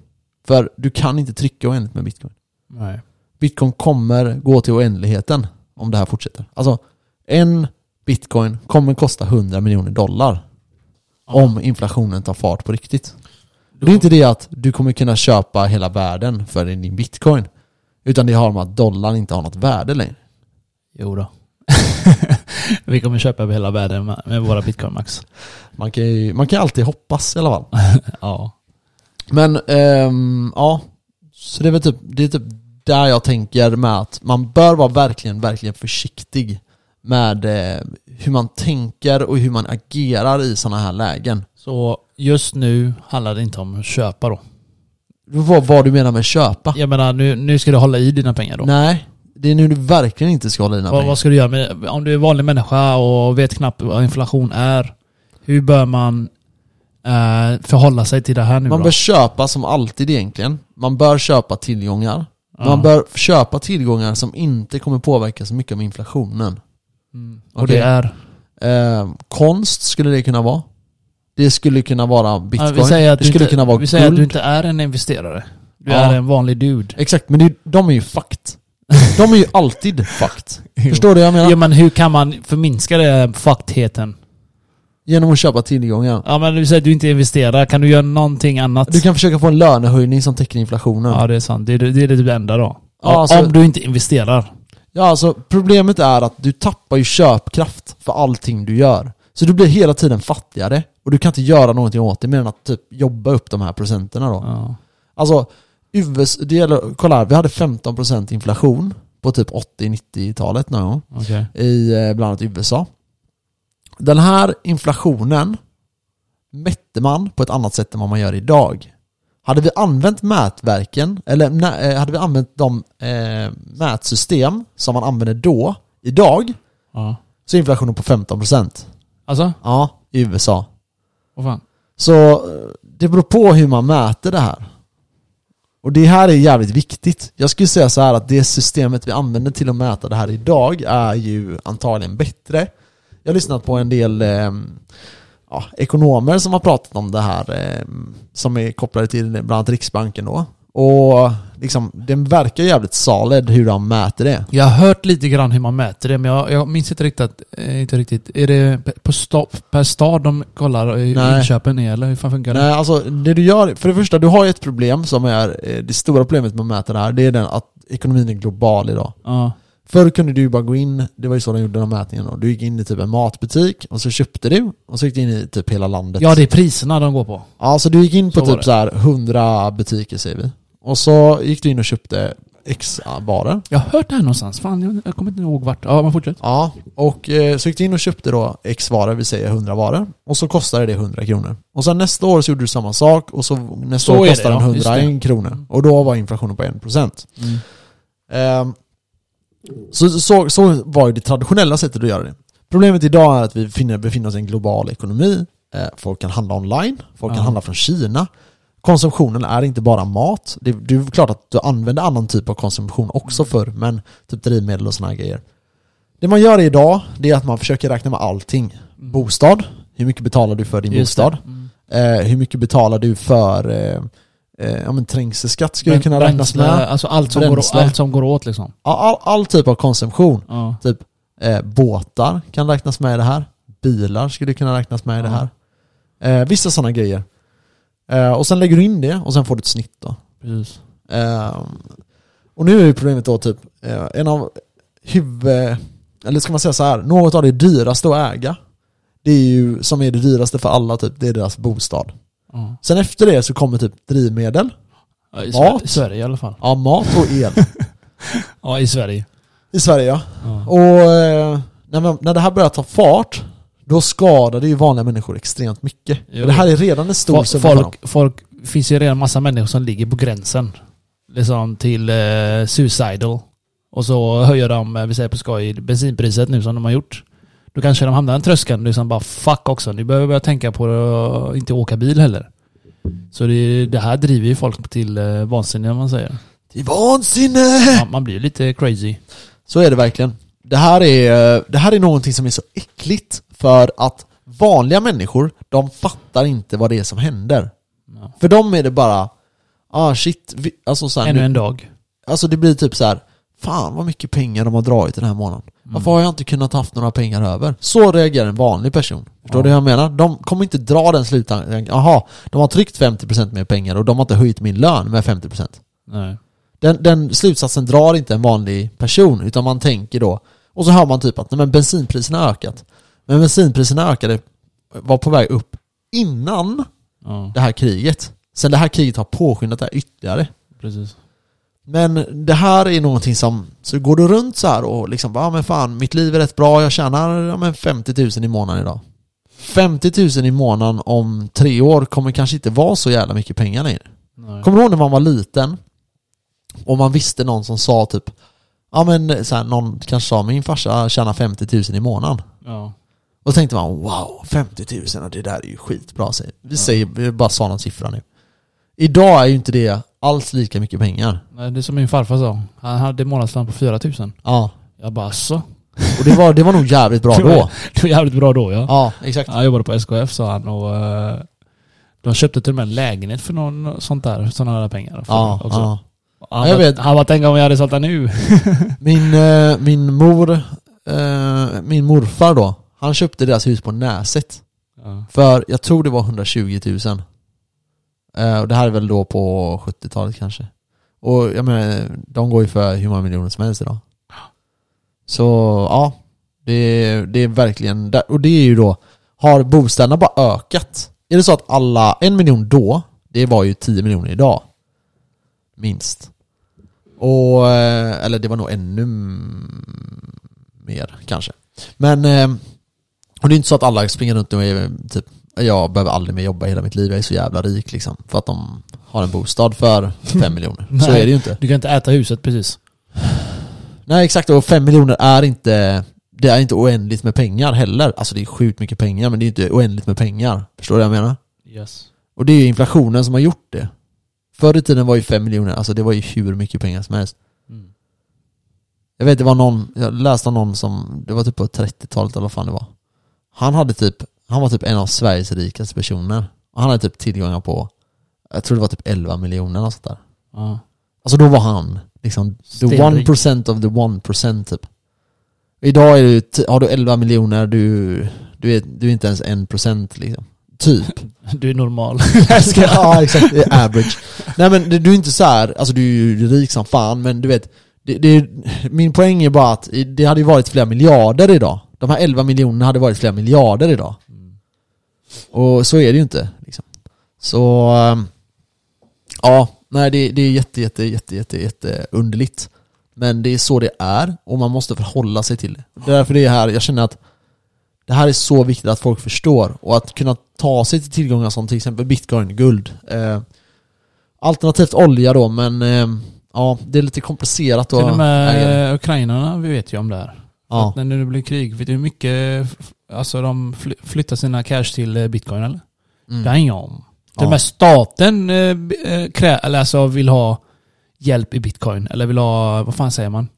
[SPEAKER 1] För du kan inte trycka oändligt med bitcoin.
[SPEAKER 2] Nej.
[SPEAKER 1] Bitcoin kommer gå till oändligheten om det här fortsätter. Alltså, en bitcoin kommer kosta 100 miljoner dollar om inflationen tar fart på riktigt. Det är inte det att du kommer kunna köpa hela världen för din bitcoin. Utan det har med att dollarn inte har något värde längre.
[SPEAKER 2] Jo då. Vi kommer köpa över hela världen med med våra bitcoin max.
[SPEAKER 1] Man kan ju man kan alltid hoppas i alla fall.
[SPEAKER 2] Ja.
[SPEAKER 1] Men ehm, ja, så det är väl typ, det är typ där jag tänker med att man bör vara verkligen, verkligen försiktig med eh, hur man tänker och hur man agerar i sådana här lägen.
[SPEAKER 2] Så just nu handlar det inte om att köpa då.
[SPEAKER 1] Vad, vad du menar med köpa?
[SPEAKER 2] Jag menar nu, nu ska du hålla i dina pengar då.
[SPEAKER 1] Nej, det är nu du verkligen inte ska hålla dina
[SPEAKER 2] Vad,
[SPEAKER 1] pengar.
[SPEAKER 2] vad ska du göra med, om du är vanlig människa och vet knappt vad inflation är. Hur bör man eh, förhålla sig till det här nu
[SPEAKER 1] Man
[SPEAKER 2] då?
[SPEAKER 1] bör köpa som alltid egentligen. Man bör köpa tillgångar.
[SPEAKER 2] Ja.
[SPEAKER 1] Man bör köpa tillgångar som inte kommer påverka så mycket av inflationen.
[SPEAKER 2] Mm. Och
[SPEAKER 1] Okej.
[SPEAKER 2] det är?
[SPEAKER 1] Eh, konst skulle det kunna vara. Det skulle kunna vara
[SPEAKER 2] Ja,
[SPEAKER 1] bitcoin.
[SPEAKER 2] vi säger att,
[SPEAKER 1] det
[SPEAKER 2] du
[SPEAKER 1] skulle
[SPEAKER 2] inte,
[SPEAKER 1] kunna vara
[SPEAKER 2] vi säger att
[SPEAKER 1] guld.
[SPEAKER 2] du inte är en investerare. Du
[SPEAKER 1] Ja.
[SPEAKER 2] är en vanlig dude.
[SPEAKER 1] Exakt, men det, de är ju fucked. De är ju alltid fucked. Förstår du vad jag menar?
[SPEAKER 2] Ja, men hur kan man förminska den faktheten?
[SPEAKER 1] Genom att köpa tillgångar.
[SPEAKER 2] Ja men du säger att du inte investerar, kan du göra någonting annat?
[SPEAKER 1] Du kan försöka få en lönehöjning som täcker inflationen.
[SPEAKER 2] Ja det är sant, det är det, är det typ det enda då.
[SPEAKER 1] Ja,
[SPEAKER 2] Om-
[SPEAKER 1] alltså-
[SPEAKER 2] Om du inte investerar.
[SPEAKER 1] Ja, alltså problemet är att du tappar ju köpkraft för allting du gör. Så du blir hela tiden fattigare och du kan inte göra någonting åt det mer än att typ jobba upp de här procenterna då.
[SPEAKER 2] Ja. Alltså,
[SPEAKER 1] Alltså, US, det gäller, kolla här, vi hade 15% inflation på typ 80-90-talet någon gång.
[SPEAKER 2] okej.
[SPEAKER 1] i eh, bland annat USA. Den här inflationen mätte man på ett annat sätt än vad man gör idag. Hade vi använt mätverken, eller nä- eh, hade vi använt de eh, mätsystem som man använde då, idag,
[SPEAKER 2] Ja.
[SPEAKER 1] så är inflationen på 15%.
[SPEAKER 2] Alltså,
[SPEAKER 1] Ja, i USA.
[SPEAKER 2] vad fan.
[SPEAKER 1] Så eh, det beror på hur man mäter det här. Och det här är jävligt viktigt. Jag skulle säga så här att det systemet vi använder till att mäta det här idag är ju antagligen bättre. Jag har lyssnat på en del eh, ja, ekonomer som har pratat om det här eh, som är kopplade till bland annat Riksbanken då. Och liksom, den verkar jävligt solid hur de mäter det.
[SPEAKER 2] Jag har hört lite grann hur man mäter det, men jag, jag minns inte riktigt, eh, inte riktigt. Är det pe- på sta, per stad de kollar i-
[SPEAKER 1] Nej.
[SPEAKER 2] inköpen är eller hur fan funkar det?
[SPEAKER 1] Nej, alltså det du gör, för det första, du har ju ett problem som är, eh, det stora problemet med att mäta det här, det är den att ekonomin är global idag.
[SPEAKER 2] Ja.
[SPEAKER 1] Förr kunde du ju bara gå in, det var ju så de gjorde de mätningarna då. Du gick in i typ en matbutik och så köpte du och så gick du in i typ hela landet.
[SPEAKER 2] ja, det är priserna de går på.
[SPEAKER 1] Ja, så du gick in på
[SPEAKER 2] Så var
[SPEAKER 1] typ
[SPEAKER 2] det.
[SPEAKER 1] så här 100 butiker säger vi. Och så gick du in och köpte X varor.
[SPEAKER 2] Jag har hört det här någonstans, fan jag, jag kommer inte ihåg vart. Ja, men fortsätt.
[SPEAKER 1] Ja, och eh, så gick du in och köpte då X varor, vi säger 100 varor. Och så kostade det 100 kronor. Och sen nästa år så gjorde du samma sak och så nästa
[SPEAKER 2] Så är
[SPEAKER 1] år
[SPEAKER 2] det,
[SPEAKER 1] kostade den
[SPEAKER 2] ja, just
[SPEAKER 1] 100
[SPEAKER 2] det.
[SPEAKER 1] en krona. Och då var inflationen på 1%.
[SPEAKER 2] Mm.
[SPEAKER 1] Ehm, Så, så, så var ju det traditionella sättet att göra det. Problemet idag är att vi befinner, befinner oss i en global ekonomi. Eh, Folk kan handla online, folk kan
[SPEAKER 2] Ja.
[SPEAKER 1] handla från Kina. Konsumtionen är inte bara mat. Det, det är klart att du använder annan typ av konsumtion
[SPEAKER 2] Mm.
[SPEAKER 1] också förr, men typ drivmedel och såna här grejer. Det man gör idag, det är att man försöker räkna med allting. Bostad, hur mycket betalar du för din
[SPEAKER 2] Mm. Just det.
[SPEAKER 1] bostad?
[SPEAKER 2] Mm.
[SPEAKER 1] Eh, hur mycket betalar du för eh, eh, ja, men trängselskatt skulle kunna räknas
[SPEAKER 2] Mm. Bränsle,
[SPEAKER 1] med.
[SPEAKER 2] Alltså allt som, går,
[SPEAKER 1] Bränsle.
[SPEAKER 2] allt som går åt liksom.
[SPEAKER 1] Ja, all, all typ av konsumtion.
[SPEAKER 2] Ja.
[SPEAKER 1] Eh, båtar kan räknas med i det här. Bilar skulle kunna räknas med i det här. Eh, vissa sådana grejer. Eh, och sen lägger du in det och sen får du ett snitt då.
[SPEAKER 2] Precis.
[SPEAKER 1] Eh, och nu är ju problemet då typ, eh, en av huvud... Eller ska man säga så här, något av det dyraste att äga, det är ju, som är det dyraste för alla typ, det är deras bostad.
[SPEAKER 2] Ja.
[SPEAKER 1] Sen efter det så kommer typ drivmedel,
[SPEAKER 2] Ja, I
[SPEAKER 1] Mat.
[SPEAKER 2] Sverige, Sverige i alla fall.
[SPEAKER 1] ja, mat och el.
[SPEAKER 2] Ja, i Sverige.
[SPEAKER 1] I Sverige ja.
[SPEAKER 2] Ja.
[SPEAKER 1] Och eh, när, man, när det här börjar ta fart, då skadar det ju vanliga människor extremt mycket.
[SPEAKER 2] Jo.
[SPEAKER 1] Och det här är redan en stor
[SPEAKER 2] Fo-
[SPEAKER 1] summa för dem.
[SPEAKER 2] folk, folk, finns ju redan massa människor som ligger på gränsen. Liksom till eh, suicidal. Och så höjer de, eh, vi säger på skoj, bensinpriset nu som de har gjort. Då kanske de hamnar i en tröskel liksom bara fuck också, nu behöver jag börja tänka på att inte åka bil heller. Så det, det här driver ju folk till eh, vansinne om man säger.
[SPEAKER 1] Till vansinne!
[SPEAKER 2] Man, man blir ju lite crazy.
[SPEAKER 1] Så är det verkligen. Det här är, eh, det här är någonting som är så äckligt för att vanliga människor, de fattar inte vad det är som händer.
[SPEAKER 2] Ja.
[SPEAKER 1] För dem är det bara, ah shit, vi, alltså så här,
[SPEAKER 2] Ännu
[SPEAKER 1] nu,
[SPEAKER 2] en dag.
[SPEAKER 1] alltså det blir typ så här, fan vad mycket pengar de har dragit den här månaden. Varför har jag inte kunnat haft några pengar över? Så reagerar en vanlig person. Förstår du vad jag menar? De kommer inte dra den slutan. Jaha, de har tryckt 50% mer pengar och de har inte höjt min lön med 50%.
[SPEAKER 2] Nej.
[SPEAKER 1] Den, den slutsatsen drar inte en vanlig person, utan man tänker då, och så hör man typ att nej, men bensinpriserna har ökat. Men bensinpriserna ökade, var på väg upp innan
[SPEAKER 2] Ja,
[SPEAKER 1] det här kriget. Sen det här kriget har påskyndat det här ytterligare.
[SPEAKER 2] precis.
[SPEAKER 1] Men det här är någonting som, så går du runt så här och liksom bara, ah, men fan, mitt liv är rätt bra, jag tjänar ja, men 50 000 i månaden idag. 50 000 i månaden om tre år kommer kanske inte vara så jävla mycket pengar längre.
[SPEAKER 2] Nej.
[SPEAKER 1] Kommer du ihåg när man var liten? Och man visste någon som sa typ Ja men så här, någon kanske sa min farsa tjänar 50 000 i månaden.
[SPEAKER 2] Ja.
[SPEAKER 1] Och då tänkte man wow, 50 000 och det där är ju skitbra. säger- Vi säger, vi bara sa någon siffra nu. Idag är ju inte det alls lika mycket pengar.
[SPEAKER 2] Nej, det är som min farfar sa. Han hade månadslön på 4000.
[SPEAKER 1] Ja.
[SPEAKER 2] Jag bara så.
[SPEAKER 1] Och det var, det var nog jävligt bra
[SPEAKER 2] Det var-
[SPEAKER 1] då.
[SPEAKER 2] Det var jävligt bra då ja.
[SPEAKER 1] Ja, exakt.
[SPEAKER 2] Han jobbade på SKF sa han och eh, de köpte till och med en lägenhet för någon sånt där, sådana där pengar. för-
[SPEAKER 1] Ja,
[SPEAKER 2] också.
[SPEAKER 1] ja.
[SPEAKER 2] Han,
[SPEAKER 1] Jag
[SPEAKER 2] bara-
[SPEAKER 1] vet.
[SPEAKER 2] han bara tänk om jag hade sålt den nu.
[SPEAKER 1] Min, eh, min mor, eh, min morfar då, han köpte deras hus på Näset.
[SPEAKER 2] Ja.
[SPEAKER 1] För jag tror det var 120 000. Eh, och det här är väl då på 70-talet kanske. Och jag menar, de går ju för hur många miljoner som helst idag. Så ja, det, är- det är verkligen, där- och det är ju då, har bostäderna bara ökat? Är det så att alla, en miljon då, det var ju 10 miljoner idag. Minst. Och, eh, eller det var nog ännu mm, mer kanske. Men eh, och det är inte så att alla springer runt och är typ jag behöver aldrig mer jobba i hela mitt liv, jag är så jävla rik liksom. För att de har en bostad för fem miljoner. Så är
[SPEAKER 2] Nej.
[SPEAKER 1] det ju inte.
[SPEAKER 2] Du kan inte äta huset precis.
[SPEAKER 1] Nej exakt, och fem miljoner är inte Det är inte oändligt med pengar heller. Alltså det är sjukt mycket pengar men det är inte oändligt med pengar. Förstår du vad jag menar?
[SPEAKER 2] Yes.
[SPEAKER 1] Och det är ju inflationen som har gjort det. Förr i tiden var ju fem miljoner, alltså det var ju hur mycket pengar som helst.
[SPEAKER 2] Mm.
[SPEAKER 1] Jag vet det var någon, jag läste om någon som, det var typ på 30-talet eller vad fan det var. Han hade typ, han var typ en av Sveriges rikaste personer. Och han hade typ tillgångar på, jag tror det var typ 11 miljoner eller sånt där.
[SPEAKER 2] Ja.
[SPEAKER 1] Alltså då var han liksom the
[SPEAKER 2] Stenrik.
[SPEAKER 1] 1% of the 1% typ. Idag är du, t- har du 11 miljoner, du, du, är, du är inte ens 1% liksom. Typ.
[SPEAKER 2] Du är normal.
[SPEAKER 1] ja exakt, det är average. Nej men du du är inte så här, alltså du är ju rik som fan men du vet, det, det, är- min poäng är bara att i- det hade ju varit flera miljarder idag. De här 11 miljonerna hade varit flera miljarder idag. Och så är det ju inte. Liksom. Så, ehm, ja, nej det, det är jätte, jätte, jätte, jätte, jätte underligt. Men det är så det är och man måste förhålla sig till det. Därför det är här, jag känner att det här är så viktigt att folk förstår och att kunna ta sig till tillgångar som till exempel bitcoin, guld. Eh, alternativt olja då, men eh, ja, det är lite komplicerat då.
[SPEAKER 2] Till och
[SPEAKER 1] äga det.
[SPEAKER 2] med ukrainarna, vi vet ju om det här.
[SPEAKER 1] ja.
[SPEAKER 2] Att när det blir krig, vet du hur mycket alltså de fly- flyttar sina cash till eh, bitcoin eller? Det har
[SPEAKER 1] Mm.
[SPEAKER 2] ingen om. Till
[SPEAKER 1] Ja.
[SPEAKER 2] och med staten eh, b- eh, krä, eller alltså vill ha hjälp i bitcoin. Eller vill ha, vad fan säger man?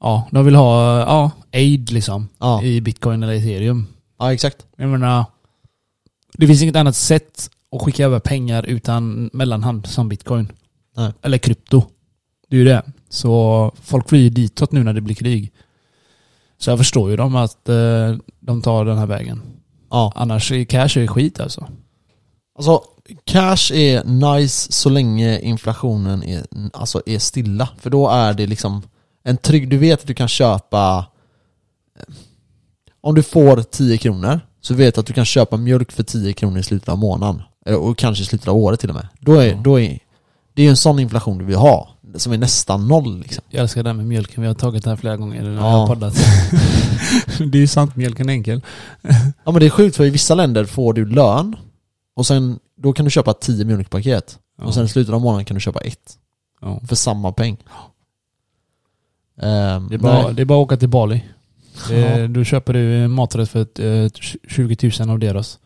[SPEAKER 2] Ja, de vill ha eh, ja, aid liksom.
[SPEAKER 1] Ja.
[SPEAKER 2] I bitcoin eller ethereum.
[SPEAKER 1] ja, exakt.
[SPEAKER 2] Jag menar, det finns inget annat sätt och skicka över pengar utan mellanhand som bitcoin.
[SPEAKER 1] Nej.
[SPEAKER 2] Eller krypto. Det är ju det. Så folk flyr ditåt nu när det blir krig. Så jag förstår ju dem att eh, de tar den här vägen.
[SPEAKER 1] Ja.
[SPEAKER 2] Annars är cash är skit alltså.
[SPEAKER 1] Alltså, cash är nice så länge inflationen är, alltså är stilla. För då är det liksom en trygg... Du vet att du kan köpa... eh, Om du får 10 kronor så vet du att du kan köpa mjölk för 10 kronor i slutet av månaden. Eller- Och kanske i slutet av året till och med. Då är, då är, det är ju en sån inflation du vill ha. Som är nästan noll liksom.
[SPEAKER 2] Jag älskar det här med mjölken. Vi har tagit det här flera gånger när vi
[SPEAKER 1] Ja.
[SPEAKER 2] har poddat. det är ju sant, mjölken är enkel.
[SPEAKER 1] Ja men det är sjukt för i vissa länder får du lön och sen då kan du köpa 10 mjölkpaket.
[SPEAKER 2] Ja.
[SPEAKER 1] Och sen i slutet av månaden kan du köpa ett.
[SPEAKER 2] Ja.
[SPEAKER 1] För samma peng. Ehm,
[SPEAKER 2] Det är, bara,
[SPEAKER 1] nej.
[SPEAKER 2] det är bara att åka till Bali.
[SPEAKER 1] Ja.
[SPEAKER 2] Eh, Då köper du maträtt för ett, eh, 20 000 av deras.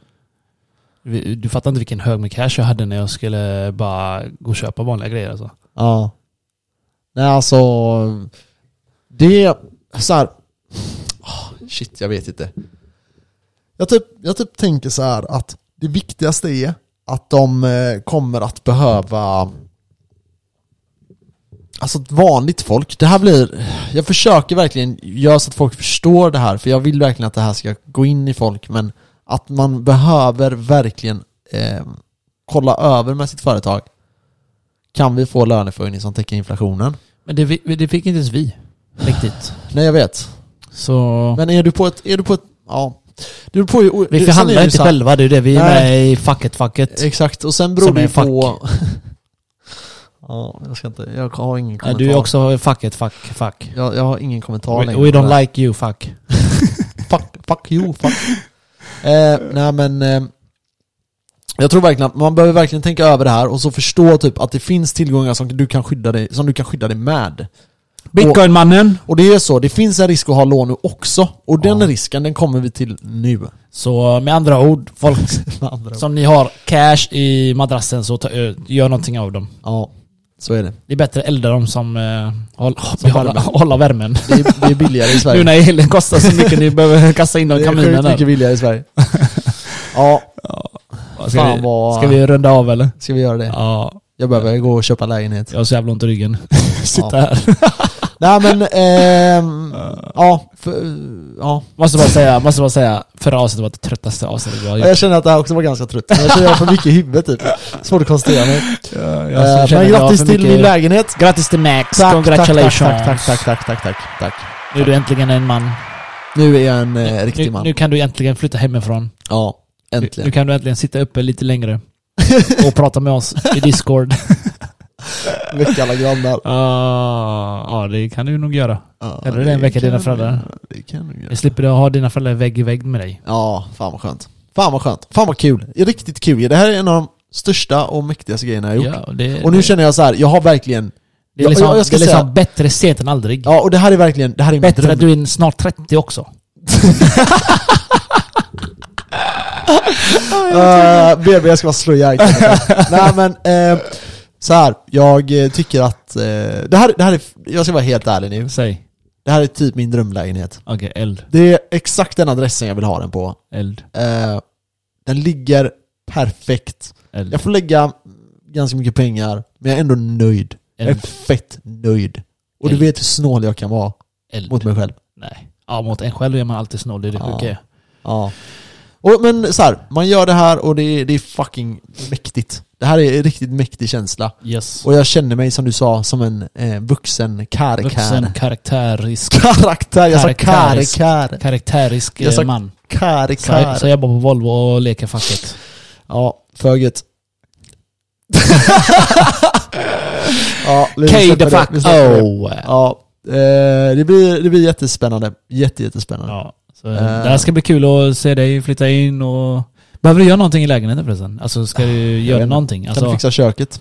[SPEAKER 2] Vi- Du fattar inte vilken hög med cash jag hade när jag skulle bara gå och köpa vanliga grejer alltså.
[SPEAKER 1] Ja. Nej alltså... Det är så här. Ah, Shit, jag vet inte.
[SPEAKER 5] Jag typ, jag typ tänker så här att det viktigaste är att de eh, kommer att behöva...
[SPEAKER 1] Alltså ett vanligt folk, det här blir... Jag försöker verkligen göra så att folk förstår det här, för jag vill verkligen att det här ska gå in i folk, men att man behöver verkligen eh, kolla över med sitt företag. Kan vi få löneförhöjning som täcker inflationen?
[SPEAKER 2] Men det, vi- det fick inte ens vi. Riktigt.
[SPEAKER 1] Nej, jag vet.
[SPEAKER 2] Så...
[SPEAKER 1] Men är du på ett... Är du på ett ja. Du är på, ju-
[SPEAKER 2] Vi
[SPEAKER 1] sen är
[SPEAKER 2] förhandlar
[SPEAKER 1] det
[SPEAKER 2] inte
[SPEAKER 1] så här-
[SPEAKER 2] själva, det är det. Vi är
[SPEAKER 1] Nej.
[SPEAKER 2] med i facket facket.
[SPEAKER 1] Exakt, och sen beror
[SPEAKER 2] Som
[SPEAKER 1] det
[SPEAKER 2] är
[SPEAKER 1] ju på... ja, jag ska inte... Jag har ingen kommentar.
[SPEAKER 2] Du är också facket fack fack.
[SPEAKER 1] Jag, jag har ingen kommentar
[SPEAKER 2] We,
[SPEAKER 1] längre.
[SPEAKER 2] we
[SPEAKER 1] på det
[SPEAKER 2] don't
[SPEAKER 1] här.
[SPEAKER 2] like you fuck.
[SPEAKER 1] Fuck, fuck you, fuck. eh, nej men... Eh, jag tror verkligen att man behöver verkligen tänka över det här och så förstå typ att det finns tillgångar som du kan skydda dig, som du kan skydda dig med.
[SPEAKER 2] Bitcoinmannen!
[SPEAKER 1] Och det är så, det finns en risk att ha lån nu också. Och den risken, den kommer vi till nu.
[SPEAKER 2] Så med andra ord, folk
[SPEAKER 1] Med andra ord.
[SPEAKER 2] som ni har cash i madrassen så ta, ö, gör någonting av dem.
[SPEAKER 1] Ja, så är det.
[SPEAKER 2] Det är bättre att elda dem som eh, håll, behålla,
[SPEAKER 1] värmen.
[SPEAKER 2] hålla värmen.
[SPEAKER 1] Det är, det är billigare i Sverige.
[SPEAKER 2] Nu när elen kostar så mycket, ni behöver kasta in dem i
[SPEAKER 1] Det är
[SPEAKER 2] kaminen
[SPEAKER 1] sjukt mycket
[SPEAKER 2] där.
[SPEAKER 1] billigare i Sverige. ja,
[SPEAKER 2] Ska
[SPEAKER 1] fan
[SPEAKER 2] vi,
[SPEAKER 1] vad...
[SPEAKER 2] ska vi runda av eller?
[SPEAKER 1] Ska vi göra det?
[SPEAKER 2] Ja,
[SPEAKER 1] Jag behöver gå och köpa lägenhet.
[SPEAKER 2] jag har så jävla ont i ryggen. Sitta
[SPEAKER 1] Ja.
[SPEAKER 2] här.
[SPEAKER 1] Nej men, ehm, ja, för, ja.
[SPEAKER 2] Måste bara säga, måste bara säga, förra avsnittet var det tröttaste avsnittet jag har gjort.
[SPEAKER 1] Jag känner att det här också var ganska trött. Jag känner att jag har för mycket i huvudet typ. Svårt att koncentrera mig.
[SPEAKER 2] Jag,
[SPEAKER 1] Eh,
[SPEAKER 2] känner
[SPEAKER 1] Men
[SPEAKER 2] att jag har
[SPEAKER 1] grattis
[SPEAKER 2] för
[SPEAKER 1] till
[SPEAKER 2] mycket-
[SPEAKER 1] min lägenhet.
[SPEAKER 2] Grattis till
[SPEAKER 1] Tack,
[SPEAKER 2] Max,
[SPEAKER 1] tack,
[SPEAKER 2] congratulations.
[SPEAKER 1] tack, tack, tack, tack, tack, tack, tack, tack.
[SPEAKER 2] Nu är du äntligen en man.
[SPEAKER 1] Nu är jag en eh,
[SPEAKER 2] Nu,
[SPEAKER 1] riktig man.
[SPEAKER 2] nu kan du äntligen flytta hemifrån.
[SPEAKER 1] Ja,
[SPEAKER 2] Nu
[SPEAKER 1] äntligen.
[SPEAKER 2] kan du äntligen sitta uppe lite längre. Och prata med oss i Discord.
[SPEAKER 1] Väcka alla grannar.
[SPEAKER 2] Ah, ja, det kan du nog göra.
[SPEAKER 1] Ja,
[SPEAKER 2] Eller det är en vecka
[SPEAKER 1] kan
[SPEAKER 2] dina
[SPEAKER 1] du
[SPEAKER 2] föräldrar.
[SPEAKER 1] göra. Det kan du göra.
[SPEAKER 2] Jag slipper ha dina föräldrar vägg i vägg med dig.
[SPEAKER 1] Ja, fan vad skönt. Fan vad skönt. Fan vad kul. Riktigt kul. Det här är en av de största och mäktigaste grejerna jag har gjort.
[SPEAKER 2] Ja, det,
[SPEAKER 1] Och nu känner jag så här, jag har verkligen
[SPEAKER 2] det är liksom,
[SPEAKER 1] jag- jag ska
[SPEAKER 2] det är liksom
[SPEAKER 1] säga-
[SPEAKER 2] bättre sent än aldrig.
[SPEAKER 1] Ja, och det här är verkligen, det här är min
[SPEAKER 2] bättre att
[SPEAKER 1] dröm.
[SPEAKER 2] du är snart 30 också.
[SPEAKER 1] Uh, BB, jag ska bara slå ihjäl killen. Nej men, eh, så här, jag eh, tycker att, eh, det, här, det här är, jag ska vara helt ärlig nu.
[SPEAKER 2] Säg.
[SPEAKER 1] Det här är typ min drömlägenhet.
[SPEAKER 2] Okej, eld.
[SPEAKER 1] Det är exakt den adressen jag vill ha den på.
[SPEAKER 2] Eld.
[SPEAKER 1] Eh, den ligger perfekt.
[SPEAKER 2] Eld.
[SPEAKER 1] Jag får lägga ganska mycket pengar, men jag är ändå nöjd. Jag är
[SPEAKER 2] Eld.
[SPEAKER 1] fett nöjd. Och du
[SPEAKER 2] Eld.
[SPEAKER 1] vet hur snål jag kan vara
[SPEAKER 2] eld.
[SPEAKER 1] mot mig själv.
[SPEAKER 2] Nej. Ja, mot en själv är man alltid snål. Det är det
[SPEAKER 1] Ja.
[SPEAKER 2] sjuka.
[SPEAKER 1] Ja. Och, men så här, man gör det här och det är, det är fucking mäktigt. Det här är en riktigt mäktig känsla.
[SPEAKER 2] Yes.
[SPEAKER 1] Och jag känner mig som du sa, som en eh, vuxen karikär.
[SPEAKER 2] Vuxen karaktärisk,
[SPEAKER 1] Karaktär, jag sa
[SPEAKER 2] Karaktärisk.
[SPEAKER 1] karikär.
[SPEAKER 2] karaktärisk eh,
[SPEAKER 1] Jag sa-
[SPEAKER 2] man. Så jag, så
[SPEAKER 1] Karikär.
[SPEAKER 2] jag jobbar på Volvo och leker facket.
[SPEAKER 1] Ja, föget. ja, vi
[SPEAKER 2] K
[SPEAKER 1] släpper
[SPEAKER 2] the
[SPEAKER 1] det.
[SPEAKER 2] fuck
[SPEAKER 1] Vi släpper det.
[SPEAKER 2] oh.
[SPEAKER 1] Ja, eh, det blir, det blir jättespännande. Jätte, jättespännande.
[SPEAKER 2] Ja. Så eh, det här ska bli kul att se dig flytta in och... Behöver du göra någonting i lägenheten förresten? Alltså ska du göra
[SPEAKER 1] Ah, vet inte.
[SPEAKER 2] någonting?
[SPEAKER 1] Kan du
[SPEAKER 2] Alltså,
[SPEAKER 1] fixa köket?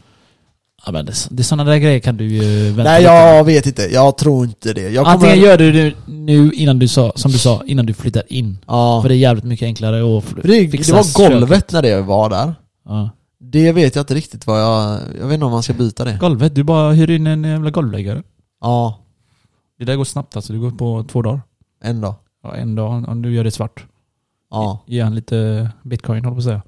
[SPEAKER 2] ja, men det, är- det är sådana där grejer kan du ju vänta
[SPEAKER 1] Nej,
[SPEAKER 2] lite med.
[SPEAKER 1] jag vet inte. Jag tror inte det. Jag
[SPEAKER 2] Antingen gör du det nu innan du sa, som du sa, innan du flyttar in.
[SPEAKER 1] Ja.
[SPEAKER 2] För det är jävligt mycket enklare att fl-
[SPEAKER 1] För Det, det
[SPEAKER 2] fixa
[SPEAKER 1] var golvet
[SPEAKER 2] köket.
[SPEAKER 1] när det var där.
[SPEAKER 2] Ja.
[SPEAKER 1] Det vet jag inte riktigt vad jag... Jag vet inte om man ska byta det.
[SPEAKER 2] Golvet, du bara hyr in en jävla golvläggare.
[SPEAKER 1] Ja,
[SPEAKER 2] Det där går snabbt alltså, det går på två dagar.
[SPEAKER 1] en dag.
[SPEAKER 2] Ja, en dag om du gör det svart.
[SPEAKER 1] Ja.
[SPEAKER 2] Ge han lite bitcoin håller på att säga.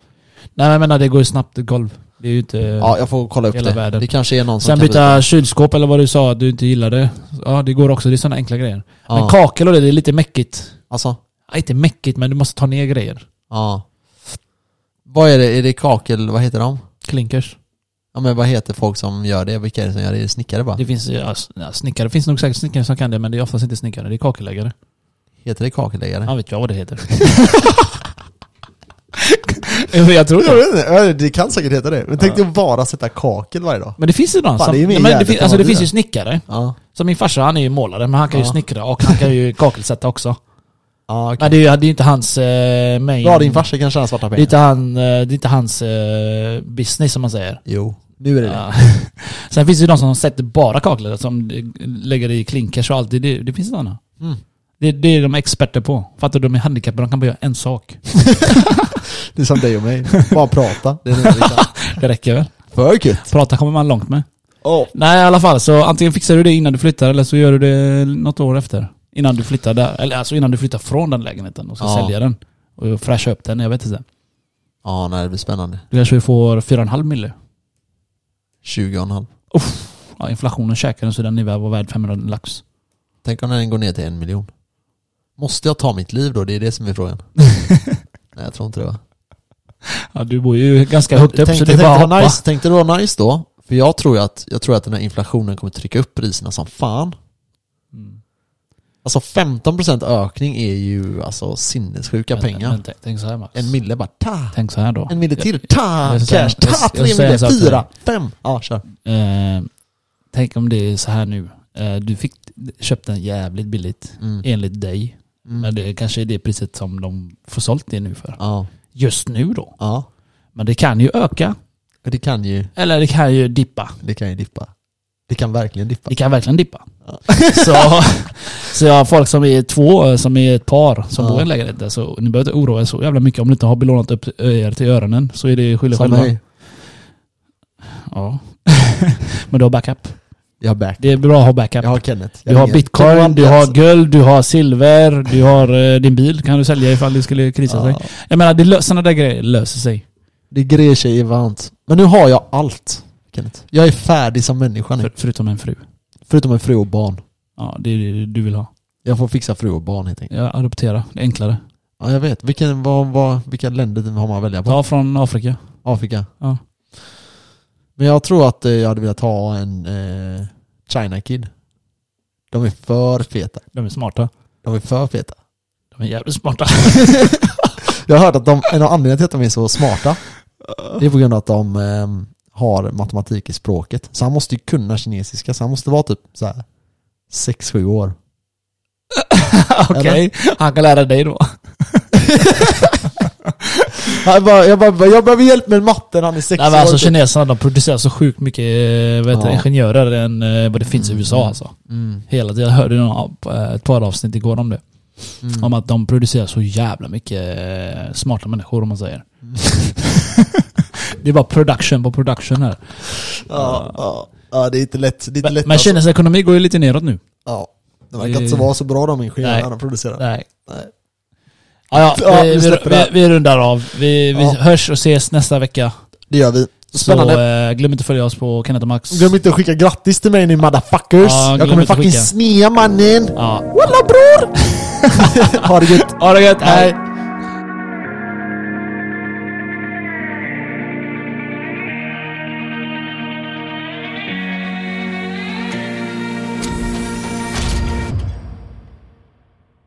[SPEAKER 2] Nej men jag menar det går ju snabbt i golv. Det är ju inte...
[SPEAKER 1] Ja, jag får kolla upp
[SPEAKER 2] Hela
[SPEAKER 1] det.
[SPEAKER 2] världen.
[SPEAKER 1] Det kanske är någon som
[SPEAKER 2] Sen
[SPEAKER 1] kan
[SPEAKER 2] byta kylskåp eller vad du sa att du inte gillade. Ja det går också, det är sådana enkla grejer. Men
[SPEAKER 1] Ja,
[SPEAKER 2] kakel och det, det är lite mäckigt.
[SPEAKER 1] alltså.
[SPEAKER 2] Ja, inte mäckigt men du måste ta ner grejer.
[SPEAKER 1] Ja. Vad är det? Är det kakel? Vad heter de?
[SPEAKER 2] Klinkers.
[SPEAKER 1] Ja men vad heter folk som gör det? Vilka är det som gör det? Är det snickare bara?
[SPEAKER 2] Det finns ja, s- ja, snickare. Det finns nog säkert snickare som kan det men det är oftast inte snickare, det är kakelläggare.
[SPEAKER 1] Heter det kakelläggare?
[SPEAKER 2] Ja vet jag vad det heter. Ja, men jag tror
[SPEAKER 1] Jag
[SPEAKER 2] det.
[SPEAKER 1] vet inte, ja, det kan säkert heta det. Men tänk dig att bara sätta kakel varje dag.
[SPEAKER 2] Men det finns ju någon
[SPEAKER 1] Fan,
[SPEAKER 2] som...
[SPEAKER 1] det är ju min
[SPEAKER 2] Nej, men det
[SPEAKER 1] jävla
[SPEAKER 2] fin, alltså det
[SPEAKER 1] fantasi
[SPEAKER 2] finns ju
[SPEAKER 1] där.
[SPEAKER 2] snickare.
[SPEAKER 1] Ja.
[SPEAKER 2] Så min farsa han är ju målare men han kan ju
[SPEAKER 1] Ja.
[SPEAKER 2] snickra och han kan ju kakelsätta också.
[SPEAKER 1] Ja, okej.
[SPEAKER 2] Nej det är ju- det är ju inte hans eh, main...
[SPEAKER 1] Bra, din farsa kan tjäna svarta
[SPEAKER 2] Det är
[SPEAKER 1] pengar.
[SPEAKER 2] inte, han, eh, det är inte hans eh, business som man säger.
[SPEAKER 1] Jo, nu är det det.
[SPEAKER 2] Ja. Sen finns det ju de som sätter bara kaklet, som lägger i klinkers och allt. Det, det, det finns sådana.
[SPEAKER 1] Mm.
[SPEAKER 2] Det, det är de experter på. Fattar du? De är handikappade, de kan bara göra en sak.
[SPEAKER 1] Det är som dig och mig. Bara prata. Det är det vi kan.
[SPEAKER 2] Det räcker väl?
[SPEAKER 1] För gött.
[SPEAKER 2] Prata kommer man långt med.
[SPEAKER 1] Oh.
[SPEAKER 2] Nej i alla fall, så antingen fixar du det innan du flyttar eller så gör du det något år efter. Innan du flyttar där, eller alltså innan du flyttar från den lägenheten och ska
[SPEAKER 1] Ja.
[SPEAKER 2] sälja den. Och fräscha upp den, jag vet inte.
[SPEAKER 1] Ja, nej det blir spännande.
[SPEAKER 2] Du kanske får 4,5 mille.
[SPEAKER 1] 20,5.
[SPEAKER 2] Ja, inflationen käkar den så den är värd- var värd 500 lax.
[SPEAKER 1] Tänk om den går ner till en miljon. Måste jag ta mitt liv då? Det är det som är frågan. nej, jag tror inte det va?
[SPEAKER 2] Ja, du bor ju ganska högt upp så
[SPEAKER 1] Tänkte,
[SPEAKER 2] det är
[SPEAKER 1] tänkte,
[SPEAKER 2] bara att
[SPEAKER 1] det
[SPEAKER 2] hoppa.
[SPEAKER 1] var nice, tänkte det var nice då. För jag tror ju att, jag tror att den här inflationen kommer trycka upp priserna som fan.
[SPEAKER 2] Mm.
[SPEAKER 1] Alltså 15% ökning är ju alltså sinnessjuka
[SPEAKER 2] Men-
[SPEAKER 1] pengar.
[SPEAKER 2] Men, tänk, tänk så här Max.
[SPEAKER 1] en mille bara ta.
[SPEAKER 2] Tänk så här då.
[SPEAKER 1] En mille till, ta!
[SPEAKER 2] jag ska säga-
[SPEAKER 1] Cash, ta!
[SPEAKER 2] jag-
[SPEAKER 1] Tre
[SPEAKER 2] jag ska säga
[SPEAKER 1] mille,
[SPEAKER 2] så att-
[SPEAKER 1] fyra, fem! Ja, kör. Mm.
[SPEAKER 2] Eh, tänk om det är så här nu. Eh, du fick, köpte den jävligt billigt
[SPEAKER 1] Mm.
[SPEAKER 2] enligt dig. Men det kanske är det priset som de får sålt det nu för.
[SPEAKER 1] Ja,
[SPEAKER 2] Just nu då.
[SPEAKER 1] ja.
[SPEAKER 2] Men det kan ju öka.
[SPEAKER 1] Det kan ju,
[SPEAKER 2] Eller det kan ju dippa.
[SPEAKER 1] det kan ju dippa. Det kan verkligen dippa.
[SPEAKER 2] Det kan verkligen dippa. Så, så jag har folk som är två, som är ett par, som
[SPEAKER 1] Ja.
[SPEAKER 2] bor i en lägenhet. där, Så ni behöver inte oroa er så jävla mycket. Om ni inte har belånat upp er till öronen så är det skylla
[SPEAKER 1] Som
[SPEAKER 2] själva.
[SPEAKER 1] mig.
[SPEAKER 2] Ja. Men du har backup.
[SPEAKER 1] Jag har back.
[SPEAKER 2] Det är bra att ha backup.
[SPEAKER 1] Jag har Kenneth. Jag
[SPEAKER 2] du har
[SPEAKER 1] ringer.
[SPEAKER 2] bitcoin, du har
[SPEAKER 1] Alltså.
[SPEAKER 2] guld, du har silver, du har eh, din bil kan du sälja ifall det skulle krisa
[SPEAKER 1] Ja,
[SPEAKER 2] sig. Jag menar, det lö- sådana där grejer löser sig.
[SPEAKER 1] det grejer sig i varandra. Men nu har jag allt, Kenneth. Jag är färdig som människa nu.
[SPEAKER 2] För, förutom en fru.
[SPEAKER 1] Förutom en fru och barn.
[SPEAKER 2] Ja, det är det du vill ha.
[SPEAKER 1] Jag får fixa fru och barn helt enkelt.
[SPEAKER 2] Jag adoptera, det är enklare.
[SPEAKER 1] Ja, jag vet. Vilken, vad, vad, vilka länder har man att välja på?
[SPEAKER 2] Ta från Afrika.
[SPEAKER 1] Afrika.
[SPEAKER 2] Ja.
[SPEAKER 1] Men jag tror att eh, jag hade velat ha en eh, China Kid. De är för feta.
[SPEAKER 2] De är smarta.
[SPEAKER 1] De är för feta.
[SPEAKER 2] De är jävligt smarta.
[SPEAKER 1] Jag har hört att de, en av anledningarna till att de är så smarta, det är på grund av att de ehm, har matematik i språket. Så han måste ju kunna kinesiska, så han måste vara typ så här 6-7 år.
[SPEAKER 2] Okej, han kan lära dig då.
[SPEAKER 1] Jag, bara, jag, bara, jag behöver hjälp med matten, han är 6
[SPEAKER 2] Nej, men alltså
[SPEAKER 1] år. typ.
[SPEAKER 2] kineserna de producerar så sjukt mycket eh, vad heter,
[SPEAKER 1] Ja.
[SPEAKER 2] det, ingenjörer än eh, vad det finns i USA alltså.
[SPEAKER 1] Mm,
[SPEAKER 2] Hela tiden. Jag hörde någon, eh, ett par avsnitt igår om det.
[SPEAKER 1] mm.
[SPEAKER 2] Om att de producerar så jävla mycket eh, smarta människor om man säger.
[SPEAKER 1] Mm.
[SPEAKER 2] det är bara production på production här.
[SPEAKER 1] Ja, ja, ja, det är inte lätt. Det är inte
[SPEAKER 2] Men,
[SPEAKER 1] lätt alltså.
[SPEAKER 2] men Kinas ekonomi går ju lite neråt nu.
[SPEAKER 1] Ja. Det verkar inte så vara så bra de ingenjörerna
[SPEAKER 2] Nej.
[SPEAKER 1] de producerar.
[SPEAKER 2] Nej.
[SPEAKER 1] Nej.
[SPEAKER 2] Ja, ja,
[SPEAKER 1] Ja,
[SPEAKER 2] vi,
[SPEAKER 1] vi
[SPEAKER 2] vi,
[SPEAKER 1] släpper det
[SPEAKER 2] vi,
[SPEAKER 1] här.
[SPEAKER 2] vi rundar av. Vi, vi
[SPEAKER 1] Ja.
[SPEAKER 2] hörs och ses nästa vecka.
[SPEAKER 1] Det gör vi. Spännande.
[SPEAKER 2] Så eh, glöm inte att följa oss på Kenneth och Max.
[SPEAKER 1] Glöm inte att skicka grattis till mig ni motherfuckers.
[SPEAKER 2] Ja, glöm
[SPEAKER 1] jag kommer
[SPEAKER 2] inte att
[SPEAKER 1] fucking
[SPEAKER 2] skicka.
[SPEAKER 1] snea mannen.
[SPEAKER 2] Ja.
[SPEAKER 1] Walla bror! ha det gött.
[SPEAKER 2] Ha det gött, hej!
[SPEAKER 1] Hej.